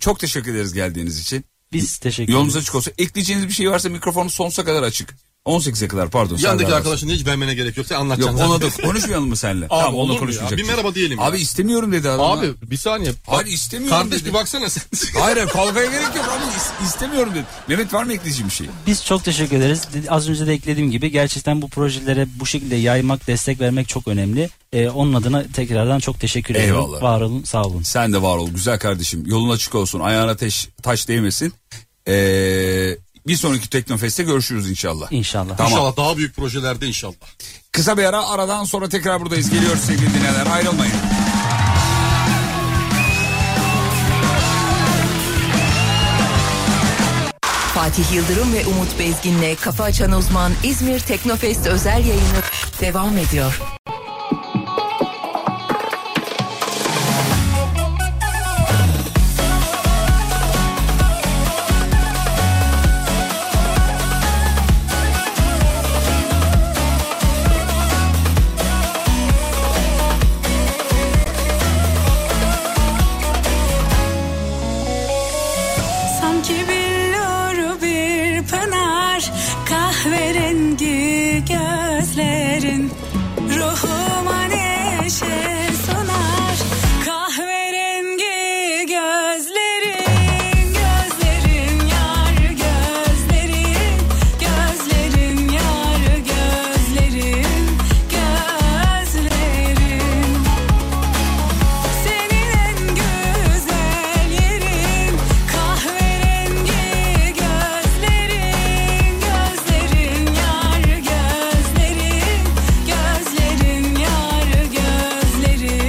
çok teşekkür ederiz geldiğiniz için. Biz teşekkür Yolunuz ederiz. açık olsun. Ekleyeceğiniz bir şey varsa mikrofonu sonsuza kadar açık. 18'e kadar pardon. Serdar Yandaki Bey. arkadaşın hiç beğenmene gerek yok. Sen Yok anlatacaksın. ona da konuşmayalım mı seninle? Abi, tamam olur mu onunla ya? konuşmayacak. şey. Bir merhaba diyelim ya. Abi istemiyorum dedi adam. Abi bir saniye. Hayır istemiyorum Kardeş dedi. bir baksana sen. Hayır hayır, kavgaya gerek yok abi is- istemiyorum dedi. Mehmet var mı ekleyeceğim bir şey? Biz çok teşekkür ederiz. Dedi- Az önce de eklediğim gibi gerçekten bu projelere bu şekilde yaymak, destek vermek çok önemli. E, onun adına tekrardan çok teşekkür ederim. Eyvallah. Var olun, sağ olun. Sen de var ol güzel kardeşim. Yolun açık olsun. Ayağına teş, taş değmesin. Ee, bir sonraki Teknofest'te görüşürüz inşallah. İnşallah. Tamam. İnşallah daha büyük projelerde inşallah. Kısa bir ara aradan sonra tekrar buradayız. Geliyoruz sevgili dinleyenler ayrılmayın. Fatih Yıldırım ve Umut Bezgin'le Kafa Açan Uzman İzmir Teknofest özel yayını devam ediyor. Sanki billur bir pınar Kahverengi gözlerin Ruhuma neşe sunar Kahverengi gözlerin Gözlerin yar gözlerin Gözlerin yar gözlerin Gözlerin senin en güzel yerin kahverengi gözlerin gözlerin yar gözlerin gözlerin yar gözlerin gözlerin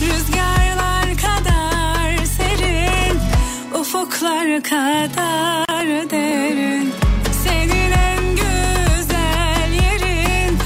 Rüzgarlar kadar serin, ufuklar kadar derin. Senin en güzel yerin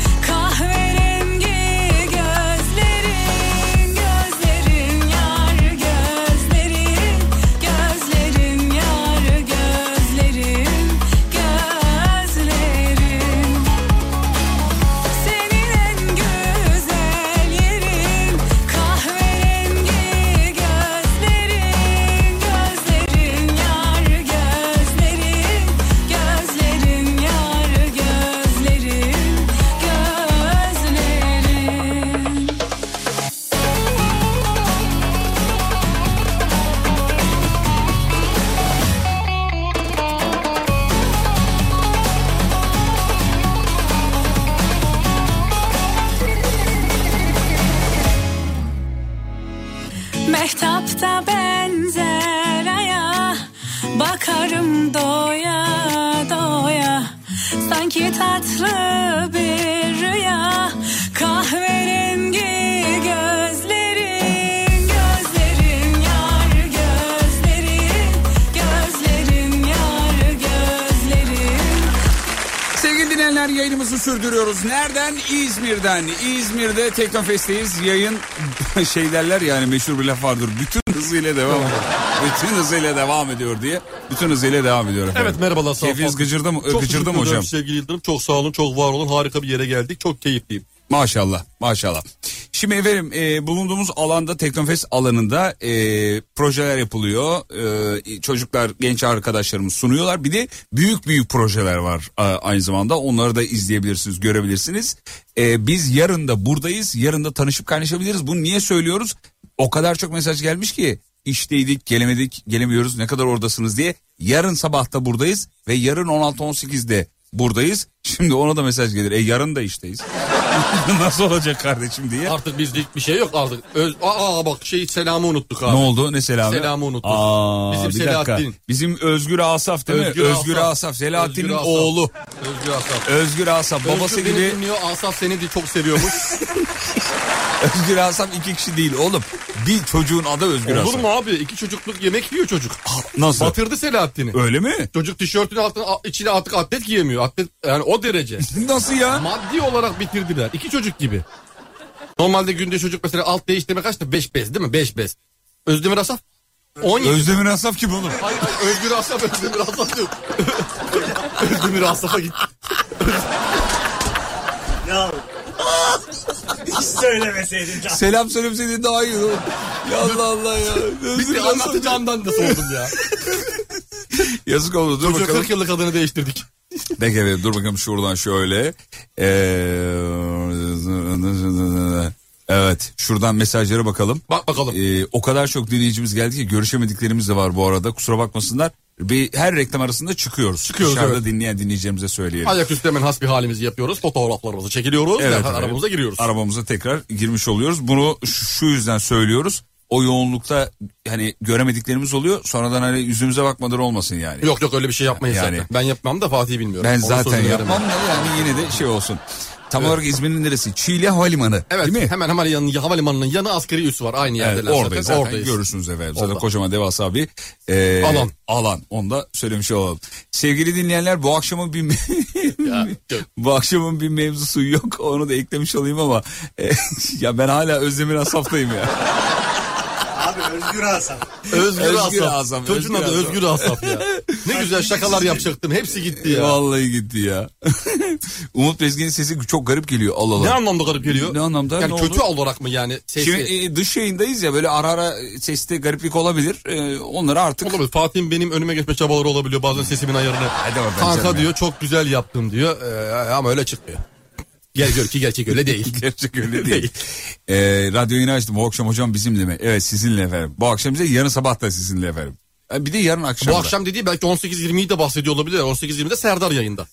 Mehtapta benzer aya Bakarım doya doya Sanki tatlı bir rüya Kahverengi gözlerin Gözlerin yar gözlerin Gözlerin yar gözlerin Sevgili dinleyenler yayınımızı sürdürüyoruz. Nereden? İzmir'den. İzmir'de Teknofest'teyiz. Yayın şey derler yani meşhur bir laf vardır. Bütün hızıyla devam ediyor. Bütün hızıyla devam ediyor diye. Bütün hızıyla devam ediyor efendim. Evet merhabalar sağ olun. Keyfiniz gıcırdı mı, Çok gıcırdı mı teşekkür ederim hocam? Sevgili Yıldırım çok sağ olun çok var olun harika bir yere geldik çok keyifliyim. Ee, Maşallah maşallah. Şimdi efendim e, bulunduğumuz alanda Teknofest alanında e, projeler yapılıyor. E, çocuklar genç arkadaşlarımız sunuyorlar. Bir de büyük büyük projeler var e, aynı zamanda. Onları da izleyebilirsiniz görebilirsiniz. E, biz yarın da buradayız. Yarın da tanışıp kaynaşabiliriz. Bunu niye söylüyoruz? O kadar çok mesaj gelmiş ki işteydik gelemedik gelemiyoruz ne kadar oradasınız diye. Yarın sabahta buradayız ve yarın 16-18'de buradayız. Şimdi ona da mesaj gelir. E yarın da işteyiz. Nasıl olacak kardeşim diye. Artık bizlik bir şey yok artık. Öz- Aa bak şey selamı unuttuk abi. Ne oldu? Ne selamı? Selamı unuttuk. Aa, Bizim bir Selahattin. dakika. Bizim Özgür Asaf değil Özgür mi? Özgür Asaf. Asaf. Selahattin'in Özgür Asaf. oğlu. Özgür Asaf. Özgür Asaf. Babası Özgür beni gibi dinliyor Asaf seni de çok seviyormuş. Özgür Asaf iki kişi değil oğlum. Bir çocuğun adı Özgür Olur Asaf. mu abi? İki çocukluk yemek yiyor çocuk. Nasıl? Batırdı Selahattin'i. Öyle mi? Çocuk tişörtün altına a- içine artık atlet giyemiyor. Atlet yani o derece. Nasıl ya? Maddi olarak bitirdiler. İki çocuk gibi. Normalde günde çocuk mesela alt değiştirme kaçtı? Beş bez değil mi? Beş bez. Özdemir Asaf 17. Özdemir Asaf kim oğlum? Hayır, hayır, Özgür Asaf, Özdemir Asaf yok. Özdemir Asaf'a git. Ya. Hiç söylemeseydin canım. Selam söylemeseydin daha iyi oğlum. Ya Allah Allah ya. Özgür Bitti Asaf. anlatacağımdan da sordum ya. Yazık oldu dur Çocuğa bakalım. 40 yıllık adını değiştirdik. Peki efendim dur bakalım şuradan şöyle. Ee, Evet şuradan mesajlara bakalım. Ee, Bak bakalım. o kadar çok dinleyicimiz geldi ki görüşemediklerimiz de var bu arada kusura bakmasınlar. Bir, her reklam arasında çıkıyoruz. Çıkıyoruz, Dışarıda evet. dinleyen dinleyicilerimize söyleyelim. Ayaküstü hemen hasbi halimizi yapıyoruz. Fotoğraflarımızı çekiliyoruz. Evet, derhal evet. arabamıza giriyoruz. Arabamıza tekrar girmiş oluyoruz. Bunu ş- şu yüzden söylüyoruz. O yoğunlukta hani göremediklerimiz oluyor. Sonradan hani yüzümüze bakmadan olmasın yani. Yok yok öyle bir şey yapmayız Yani- zaten. Ben yapmam da Fatih bilmiyorum. Ben Onun zaten sözünü veremem. yapmam da yani yine de şey olsun. Tam olarak İzmir'in neresi? Çiğli Havalimanı. Evet hemen hemen yanı, havalimanının yanı askeri üssü var. Aynı Evet, yerdeler oradayız zaten. zaten görürsünüz efendim. Zaten Orada. kocaman devasa bir e, Alan. alan. Onu da söylemiş olalım. Sevgili dinleyenler bu akşamın bir bu akşamın bir mevzusu yok. Onu da eklemiş olayım ama e, ya ben hala Özdemir Asaf'tayım ya. Abi Özgür Asaf. Özgür, Özgür Asaf. Asaf, Çocuğun Özgür adı Asaf. Özgür Asaf ya. Ne güzel şakalar yapacaktım. Hepsi gitti ya. Vallahi gitti ya. Umut Bezgin'in sesi çok garip geliyor. Allah Allah. Ne anlamda garip geliyor? Ne anlamda? Yani Ne kötü oldu? olarak mı yani? Sesi. Şimdi e, dış yayındayız ya böyle ara ara seste gariplik olabilir. E, onları artık Olabilir. Fatih'in benim önüme geçme çabaları olabiliyor bazen sesimin ayarını. oradan canım Kanka ya. diyor çok güzel yaptım diyor Ee, ama öyle çıkmıyor. Gel gör ki gerçek öyle değil. gerçek öyle değil. e, radyoyu yine açtım. Bu akşam hocam bizimle mi? Evet sizinle efendim. Bu akşam bize yarın sabah da sizinle efendim. E, bir de yarın akşam. Bu da. akşam dediği belki 18-20'yi de bahsediyor olabilir. 18-20'de Serdar yayında.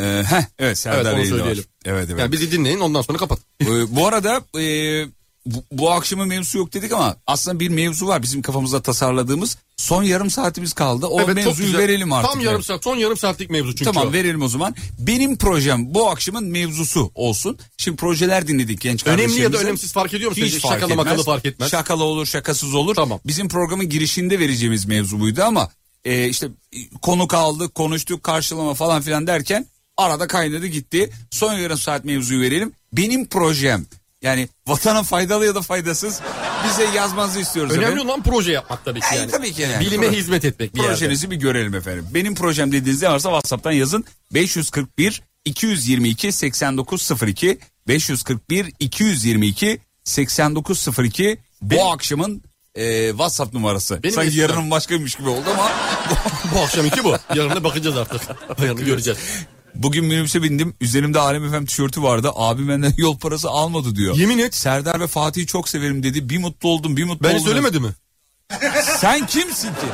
E, heh, evet Serdar Evet, onu yayında var. söyleyelim. Evet evet. Yani bizi dinleyin ondan sonra kapat. E, bu arada e, bu, bu akşamın mevzusu yok dedik ama aslında bir mevzu var bizim kafamızda tasarladığımız. Son yarım saatimiz kaldı. O Evet, çok mevzuyu güzel. verelim artık. Tam Evet. yarım saat, son yarım saatlik mevzu çünkü. tamam o. verelim o zaman. Benim projem bu akşamın mevzusu olsun. Şimdi projeler dinledik genç Önemli ya da kardeşlerimizden. önemsiz fark ediyor mu Hiç sizce? fark Şakalı etmez. makalı fark etmez. Şakalı olur şakasız olur. Tamam. Bizim programın girişinde vereceğimiz mevzu buydu ama e, işte e, konuk aldık konuştuk karşılama falan filan derken arada kaynadı gitti. Son yarım saat mevzuyu verelim. Benim projem yani vatana faydalı ya da faydasız bize yazmanızı istiyoruz. Önemli efendim. olan proje yapmak tabii ki E, yani. tabii ki yani. Bilime Pro- hizmet etmek bir yerde. Projenizi bir görelim efendim. Benim projem dediğiniz ne varsa WhatsApp'tan yazın. 541 222 8902 541 222 8902 bu akşamın e, WhatsApp numarası. Benim Sanki eskiden- yarının başkaymış gibi oldu ama bu akşamki bu. Yarına bakacağız artık. Yarını göreceğiz. Bugün minibüse bindim. Üzerimde Alem Efem tişörtü vardı. Abi benden yol parası almadı diyor. Yemin et. Serdar ve Fatih'i çok severim dedi. Bir mutlu oldum bir mutlu Beni oldum. söylemedi mi? Sen kimsin ki?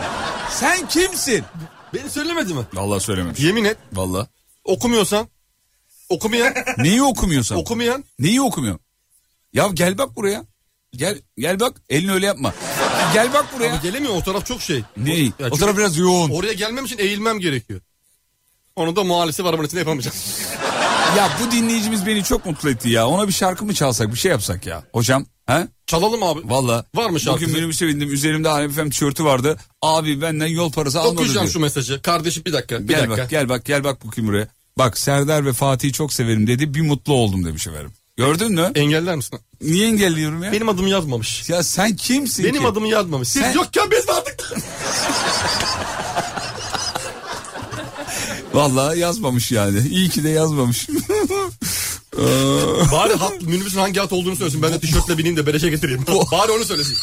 Sen kimsin? Beni söylemedi mi? Vallahi söylememiş. Yemin et. Vallahi. Okumuyorsan. Okumayan. Neyi okumuyorsan? okumayan. Neyi okumuyor? Ya gel bak buraya. Gel gel bak elini öyle yapma. Gel bak buraya. Abi gelemiyor o taraf çok şey. Ne? o taraf biraz yoğun. Oraya gelmem için eğilmem gerekiyor. Onu da muhalisi var içinde yapamayacağız. Ya bu dinleyicimiz beni çok mutlu etti ya. Ona bir şarkı mı çalsak bir şey yapsak ya. Hocam he? Çalalım abi. Valla. Var mı şarkı? Bugün benim sevindim. Üzerimde Alem FM tişörtü vardı. Abi benden yol parası almadı Okuyacağım diyor. şu mesajı. Kardeşim bir dakika. Bir gel dakika. bak gel bak gel bak bu buraya. Bak Serdar ve Fatih'i çok severim dedi. Bir mutlu oldum demiş efendim. Gördün mü? Engeller misin? Niye engelliyorum ya? Benim adımı yazmamış. Ya sen kimsin Benim ki? adımı yazmamış. Siz Sen- yokken biz vardık. Vallahi yazmamış yani. İyi ki de yazmamış. Bari hat, minibüsün hangi hat olduğunu söylesin. Ben de tişörtle bineyim de beleşe getireyim. Bari onu söylesin.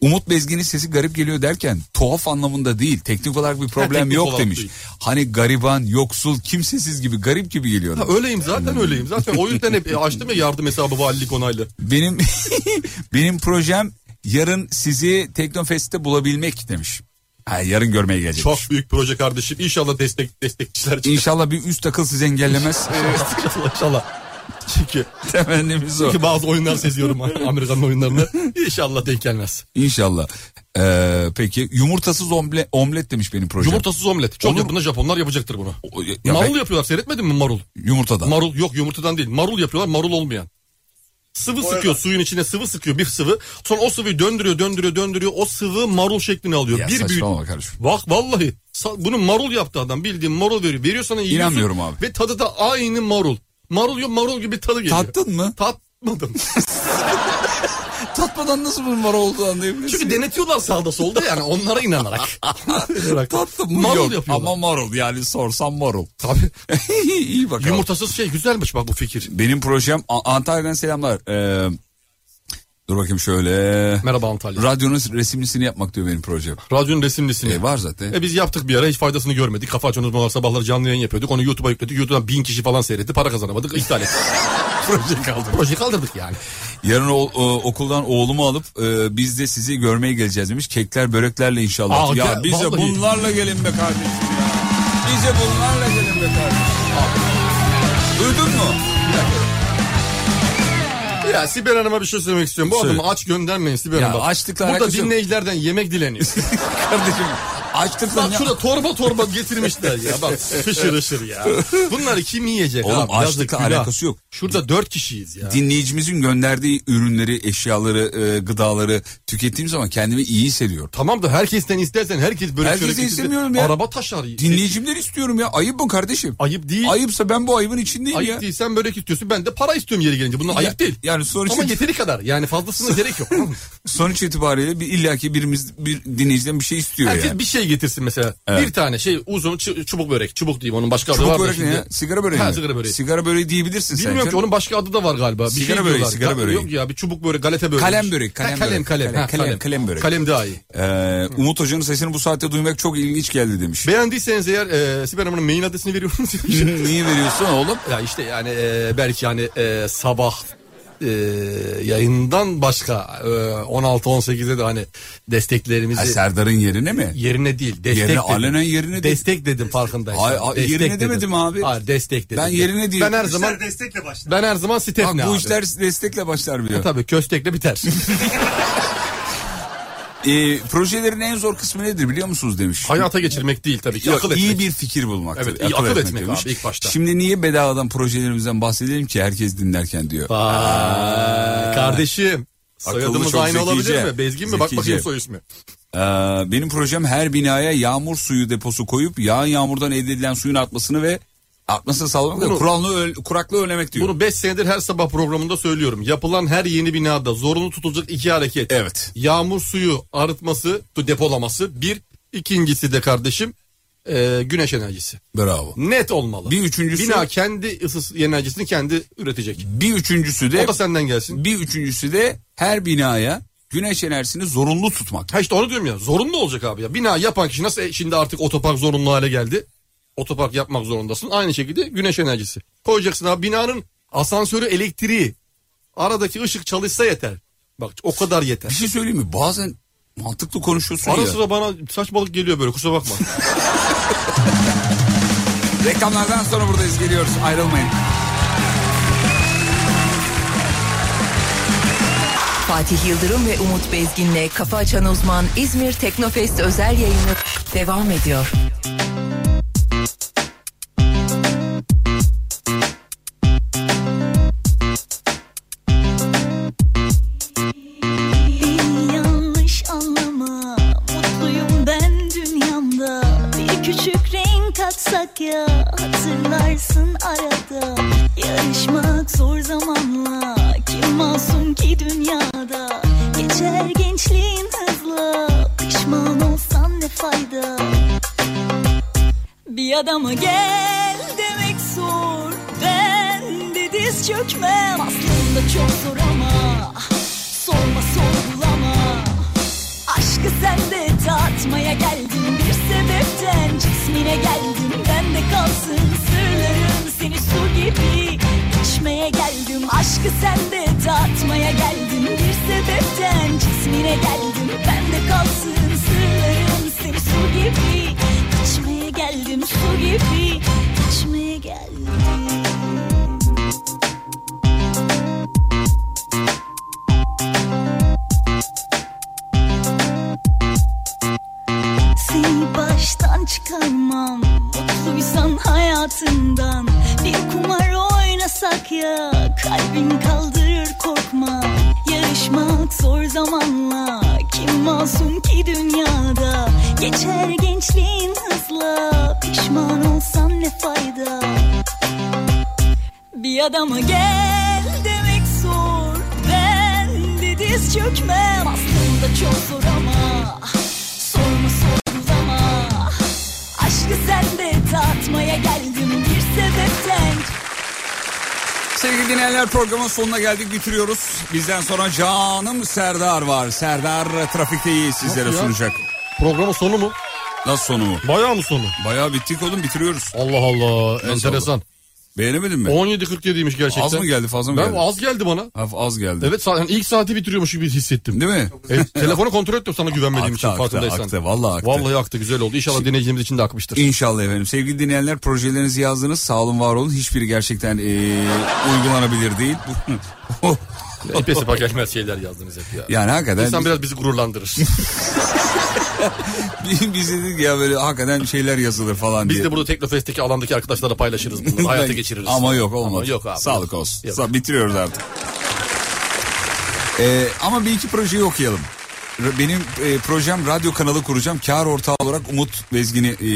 Umut Bezgin'in sesi garip geliyor derken tuhaf anlamında değil. Teknik olarak bir problem teknik yok olarak demiş. değil. Hani gariban, yoksul, kimsesiz gibi garip gibi geliyor. Ha, öyleyim zaten öyleyim. Zaten o yüzden hep e, açtım ya yardım hesabı valilik onaylı. Benim benim projem yarın sizi Teknofest'te bulabilmek demiş. Ha, yarın görmeye gelecek. Çok büyük proje kardeşim. İnşallah destek destekçiler çıkar. İnşallah bir üst akıl sizi engellemez. İnşallah, İnşallah. Çünkü temennimiz o. Çünkü bazı oyunlar seziyorum Amerikan oyunlarını. İnşallah denk gelmez. İnşallah. Ee, peki yumurtasız omle, omlet demiş benim projem. Yumurtasız omlet. Çok yakında Japonlar yapacaktır bunu. ya marul ben- yapıyorlar. Seyretmedin mi marul? Yumurtadan. Marul yok yumurtadan değil. Marul yapıyorlar. Marul olmayan. Sıvı sıkıyor suyun içine sıvı sıkıyor bir sıvı. Sonra o sıvıyı döndürüyor döndürüyor döndürüyor. O sıvı marul şeklini alıyor. Ya bir büyük. saçmalama kardeşim. Bak vallahi sa- bunu marul yaptı adam bildiğin marul veriyor. Veriyor sana yiyorsun. İnanmıyorum abi. Ve tadı da aynı marul. Marul yok marul gibi tadı geliyor. Tattın mı? Tatmadım. Tatmadan nasıl bunun var olduğu anlayabilirsin. Çünkü denetiyorlar sağda solda yani onlara inanarak. Tattım mı? Marul Yok. yapıyorlar. Ama marul yani sorsam marul. Tabii. İyi bakalım. Yumurtasız şey güzelmiş bak bu fikir. Benim projem A- Antalya'dan selamlar. Ee, dur bakayım şöyle. Merhaba Antalya. Radyonun resimlisini yapmak diyor benim projem. Radyonun resimlisini. E, var zaten. E biz yaptık bir ara hiç faydasını görmedik. Kafa açan uzmanlar sabahları canlı yayın yapıyorduk. Onu YouTube'a yükledik. YouTube'dan bin kişi falan seyretti. Para kazanamadık. İptal ettik. Proje kaldı. Proje kaldırdık yani. Yarın o- o- okuldan oğlumu alıp e, biz de sizi görmeye geleceğiz demiş. Kekler böreklerle inşallah. Aa, ya gel- bize vallahi. bunlarla gelin be kardeşim ya. Bize bunlarla gelin be kardeşim. Duydun mu? Ya Sibel Hanım'a bir şey söylemek istiyorum. Bu Söyle. adamı aç göndermeyin Sibel Ya Hanım. Bak, açlıkla Burada alakası yok. dinleyicilerden yemek dileniyor. Kardeşim açlıktan Bak ya. şurada torba torba getirmişler ya. Bak fışır fışır ya. Bunları kim yiyecek Oğlum abi? Yazık, açlıkla günah. alakası yok. Şurada dört kişiyiz ya. Dinleyicimizin gönderdiği ürünleri, eşyaları, e, gıdaları tükettiğim zaman kendimi iyi hissediyorum. Tamam da herkesten istersen herkes böyle Herkese çörek isterse istemiyorum ya. Araba taşar. Dinleyicimden istiyorum ya. Ayıp mı kardeşim? Ayıp değil. Ayıpsa ben bu ayıbın içindeyim Ayıp ya. değil sen börek istiyorsun ben de para istiyorum yeri gelince bunlar Ya- ayıp değil. yani sonuç- Ama yeteri kadar yani fazlasına gerek yok. Sonuç itibariyle bir illaki birimiz bir dinleyiciden bir şey istiyor Herkes yani. bir şey getirsin mesela Evet. bir tane şey uzun çu- çubuk börek çubuk diyeyim onun başka adı var Çubuk da börek ne şimdi. ya? Sigara böreği Ha, mi? sigara böreği. Sigara böreği diyebilirsin sen. Bilmiyorum ki canım. onun başka adı da var galiba. Bir Sigara şey böreği, diyorlar. sigara Ga- böreği. Yok ya bir çubuk börek galeta böreği. Kalem böreği, kalem kalem, böreği. kalem, Kalem, ha, kalem, kalem, kalem böreği. Kalem daha iyi. Ee, Umut Hoca'nın sesini bu saatte duymak çok ilginç geldi demiş. Beğendiyseniz eğer e, Sibel Hanım'ın mail adresini veriyorsunuz. Niye veriyorsun oğlum? ya işte yani e, belki yani e, sabah e, yayından başka e, 16-18'de de hani desteklerimizi... Ha, Serdar'ın yerine mi? Yerine değil. Destek Yerine, dedim. alenen yerine değil. Destek dedim farkındaysan. Ay, ay, Destek yerine demedim abi. Hayır destek dedim. Ben yerine değil. Ben her Bu zaman İşler destekle başladı. ben her zaman Bak, Stefne bu abi. işler destekle başlar biliyor. Tabii köstekle biter. Ee, projelerin en zor kısmı nedir biliyor musunuz demiş. Hayata geçirmek değil tabii ki. Yok, akıl iyi etmek. bir fikir bulmak. Evet, iyi akıl etmek abi ilk başta. Şimdi niye bedavadan projelerimizden bahsedelim ki herkes dinlerken diyor. Vay, kardeşim. Akıllı, Soyadımız çok aynı olabilir zekice. mi? Bezgin mi? Bak Zekice. bakayım soy ismi. Ee, benim projem her binaya yağmur suyu deposu koyup yağan yağmurdan elde edilen suyun atmasını ve atmasını sağlamak Bunu- ve kuralını öl- kuraklığı önlemek diyor. Bunu 5 senedir her sabah programında söylüyorum. Yapılan her yeni binada zorunlu tutulacak iki hareket. Evet. Yağmur suyu arıtması, depolaması bir. İkincisi de kardeşim e, güneş enerjisi. Bravo. Net olmalı. Bir üçüncüsü- Bina kendi ısı enerjisini kendi üretecek. Bir üçüncüsü de O da senden gelsin. bir üçüncüsü de her binaya güneş enerjisini zorunlu tutmak. Ha işte onu diyorum ya zorunlu olacak abi ya. Bina yapan kişi nasıl e, şimdi artık otopark zorunlu hale geldi. Otopark yapmak zorundasın. Aynı şekilde güneş enerjisi. Koyacaksın abi binanın asansörü elektriği. Aradaki ışık çalışsa yeter. Bak o kadar yeter. Bir şey söyleyeyim mi? Bazen mantıklı konuşuyorsun Ara ya. sıra bana saçmalık geliyor böyle kusura bakma. Reklamlardan sonra buradayız geliyoruz ayrılmayın. Fatih Yıldırım ve Umut Bezgin'le Kafa Açan Uzman İzmir Teknofest özel yayını devam ediyor. Beni yanlış anlama Mutluyum ben dünyamda Bir küçük renk atsak ya Hatırlarsın arada Yarışmak zor zamanla Kim masum ki dünyada Geçer gençliğin hızla Pişman olsan ne fayda Bir adama gel demek zor Ben de diz çökmem Aslında çok zor ama Sorma sorgulama Aşkı sende tatmaya geldim bir sebepten Cismine geldim bende kalsın sırlarım Seni su gibi içmeye geldim Aşkı sende tatmaya geldim bir sebepten Cismine geldim bende kalsın sırlarım Seni su gibi içmeye geldim Su gibi içmeye geldim Seni baştan çıkarmam Mutluysan hayatından Bir kumar oynasak ya Kalbin kaldırır korkma Yarışmak zor zamanla Kim masum ki dünyada Geçer gençliğin hızla Pişman olsan ne fayda Bir adama gel demek zor Ben de diz çökmem Aslında çok zor ama Sorma sorgulama Aşkı sende tatmaya geldim bir sebepten Sevgili dinleyenler programın sonuna geldik bitiriyoruz. Bizden sonra canım Serdar var. Serdar trafikteyi sizlere Nasıl ya? sunacak. Programın sonu mu? Nasıl sonu mu? Bayağı mı sonu? Bayağı bittik oğlum bitiriyoruz. Allah Allah enteresan. Beğenemedin mi? 17.47'ymiş gerçekten. Az mı geldi fazla mı ben, geldi? Az geldi bana. Ha, Az geldi. Evet sa- yani ilk saati bitiriyormuş gibi hissettim. E, Değil mi? Evet, telefonu kontrol ettim sana güvenmediğim Aktı, için aktı, farkındaysan. aktı, vallahi aktı. Vallahi aktı güzel oldu. İnşallah Şimdi- dinleyicimiz için de akmıştır. İnşallah efendim. Sevgili dinleyenler projelerinizi yazdınız. Sağ olun var olun. Hiçbiri gerçekten eee, uygulanabilir değil. Bu- Oh. Epey sepa gelmez şeyler yazdınız hep ya. Yani hakikaten İnsan biz- biraz bizi gururlandırır. Biz dedik ya böyle hakikaten şeyler yazılır falan Biz diye. de burada Teknofest'teki alandaki arkadaşlara paylaşırız bunları. Hayata geçiririz. Ama yok olmadı. Ama yok abi. Sağlık olsun. Sa- bitiriyoruz artık. Ee, ama bir iki projeyi okuyalım. R- Benim e, projem radyo kanalı kuracağım. Kar ortağı olarak Umut Bezgin'i e, e,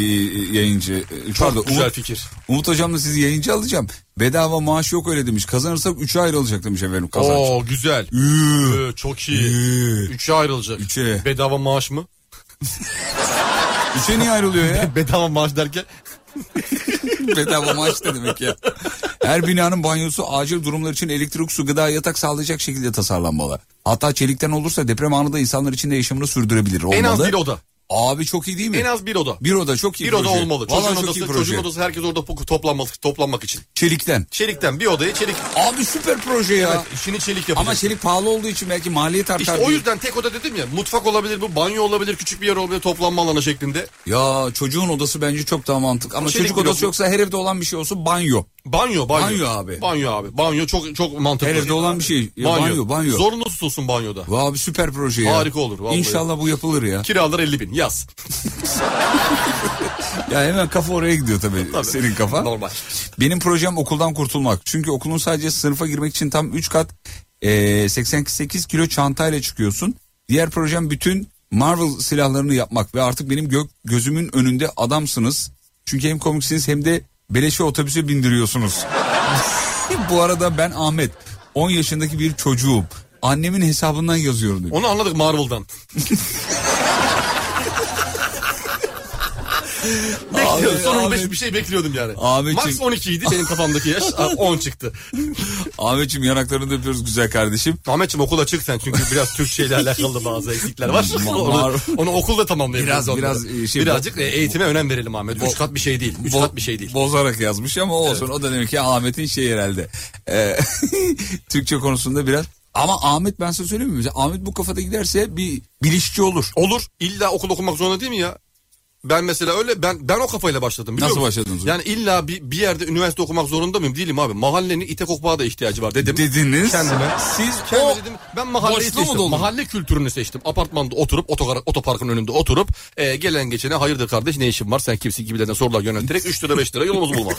yayıncı. e, Çok pardon, güzel Umut, fikir. Umut hocamla sizi yayıncı alacağım. Bedava maaş yok öyle demiş. Kazanırsak 3'e ayrılacak demiş efendim kazanç. Oo güzel. Ee, çok iyi. Üçe ayrılacak. Bedava maaş mı? Üçe niye ayrılıyor ya? Bedava maaş derken Bedava maaş ne demek ya? Her binanın banyosu acil durumlar için elektrik, su, gıda, yatak sağlayacak şekilde tasarlanmalı. Hatta çelikten olursa deprem anında insanlar için de yaşamını sürdürebilir. Olmalı. en az bir oda. Abi çok iyi değil mi? En az bir oda. Bir oda çok iyi Bir oda proje. olmalı. Vallahi Çocuğun çok odası, iyi proje. çocuğun odası herkes orada poku- toplanmak, toplanmak için. Çelikten. Çelikten bir odaya çelik. Abi süper proje ya. Evet, işini çelik yapacak. Ama çelik pahalı olduğu için belki maliyet artar. İşte o diye. yüzden tek oda dedim ya. Mutfak olabilir bu, banyo olabilir, küçük bir yer olabilir, toplanma alanı şeklinde. Ya çocuğun odası bence çok daha mantıklı. Ama Çelik çocuk bir odası oda. yoksa her evde olan bir şey olsun banyo. Banyo, banyo. Banyo abi. Banyo abi. Banyo çok çok mantıklı. Her evde olan bir şey. Ya, banyo, banyo. Zorunlusu olsun banyoda. Vay abi süper proje ya. Harika olur, vallahi. İnşallah bu yapılır ya. Kiralar 50 bin yaz. Ya hemen kafa oraya gidiyor tabii. Senin kafa. Normal. Benim projem okuldan kurtulmak. Çünkü okulun sadece sınıfa girmek için tam 3 kat e, 88 kilo çantayla çıkıyorsun. Diğer projem bütün Marvel silahlarını yapmak ve artık benim gök, gözümün önünde adamsınız. Çünkü hem komiksiniz hem de beleşe otobüse bindiriyorsunuz. Bu arada ben Ahmet. 10 yaşındaki bir çocuğum. Annemin hesabından yazıyorum diyor. Onu anladık Marvel'dan. Bekliyordum. Abi, Sonunda abi. bir şey bekliyordum yani. Ahmetciğim. Max 12 idi benim kafamdaki yaş. Ha, 10 çıktı. Ahmetciğim yanaklarını da öpüyoruz güzel kardeşim. Ahmetciğim okula çık sen çünkü biraz Türkçeyle alakalı bazı eksikler var. Ma- onu, mar- onu okulda tamamlayabiliriz. Biraz- onları. biraz, e, şey- Birazcık e, eğitime önem verelim Ahmet. Bo- Üç kat bir şey değil. Üç Bo- kat bir şey değil. Bozarak yazmış ama olsun. O da demek ki Ahmet'in şeyi herhalde. Ee, Türkçe konusunda biraz. Ama Ahmet ben size söyleyeyim mi? Ahmet bu kafada giderse bir bilişçi olur. Olur. İlla okul okumak zorunda değil mi ya? Ben mesela öyle ben ben o kafayla başladım. biliyor Nasıl musun? başladınız? Yani illa bir, bir yerde üniversite okumak zorunda mıyım? Değilim abi. Mahallenin ite kokbağa da ihtiyacı var dedim. Dediniz. Kendime. Siz Kendime o dedim, ben mahalleyi boşluğu mu seçtim. doldurdunuz? Mahalle kültürünü seçtim. Apartmanda oturup otokar, otoparkın önünde oturup e, gelen geçene hayırdır kardeş ne işin var sen kimsin gibilerden sorular yönelterek 3 lira 5 lira yolumuzu bulmak.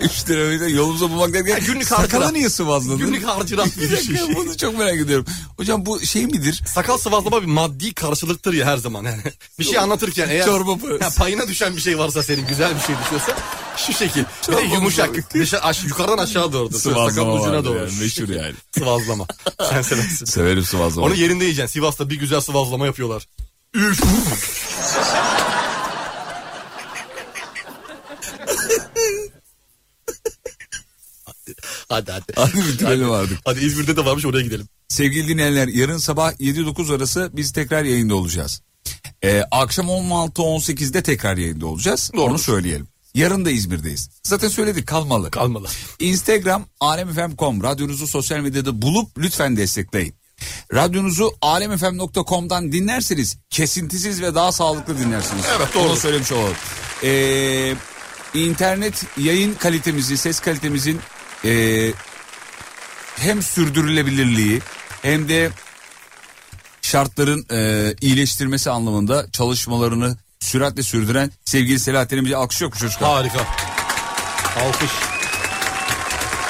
3 lirayı da yolumuza bulmak derken günlük sakala harcıra- niye sıvazladın? Günlük harcırat Bir bir dakika, şey. bunu çok merak ediyorum. Hocam bu şey midir? Sakal sıvazlama bir maddi karşılıktır ya her zaman. Yani bir şey anlatırken eğer Çorba parası. Ha, payına düşen bir şey varsa senin güzel bir şey düşüyorsa şu şekil. Bir de Çorba yumuşak. Dışa, aş, yukarıdan aşağı doğru. Sıvazlama Sakalın ucuna vardır doğru. yani, meşhur yani. sıvazlama. Sen seversin. Severim sıvazlama. Onu yerinde yiyeceksin. Sivas'ta bir güzel sıvazlama yapıyorlar. Üf. hadi hadi. Hadi bitirelim artık. Hadi İzmir'de de varmış oraya gidelim. Sevgili dinleyenler yarın sabah 7-9 arası biz tekrar yayında olacağız. Ee, akşam 16-18'de tekrar yayında olacağız. Onu söyleyelim. Yarın da İzmir'deyiz. Zaten söyledik kalmalı. Kalmalı. Instagram alemfm.com radyonuzu sosyal medyada bulup lütfen destekleyin. Radyonuzu alemfm.com'dan dinlerseniz kesintisiz ve daha sağlıklı dinlersiniz. Evet, doğru. Onu söylemiş olalım. Ee, internet yayın kalitemizi, ses kalitemizin ee, hem sürdürülebilirliği hem de şartların e, iyileştirmesi anlamında çalışmalarını süratle sürdüren sevgili Selahattin'e bir alkış yok mu çocuklar? Harika. Alkış.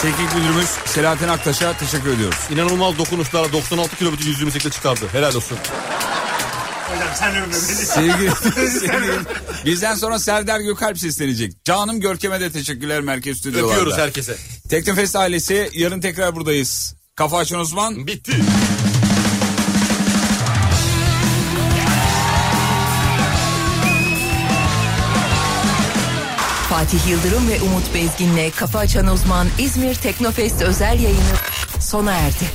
Teknik müdürümüz Selahattin Aktaş'a teşekkür ediyoruz. İnanılmaz dokunuşlarla 96 kilometre yüzüğümü sekte çıkardı. Helal olsun. Hocam sen övme beni. Sevgili, Sen sevgili- övme. bizden sonra Serdar Gökalp seslenecek. Canım Görkem'e de teşekkürler Merkez Stüdyolar'da. Öpüyoruz herkese. Teknofest ailesi yarın tekrar buradayız. Kafa açan Osman. Bitti. Fatih Yıldırım ve Umut Bezgin'le Kafa Açan Uzman İzmir Teknofest özel yayını sona erdi.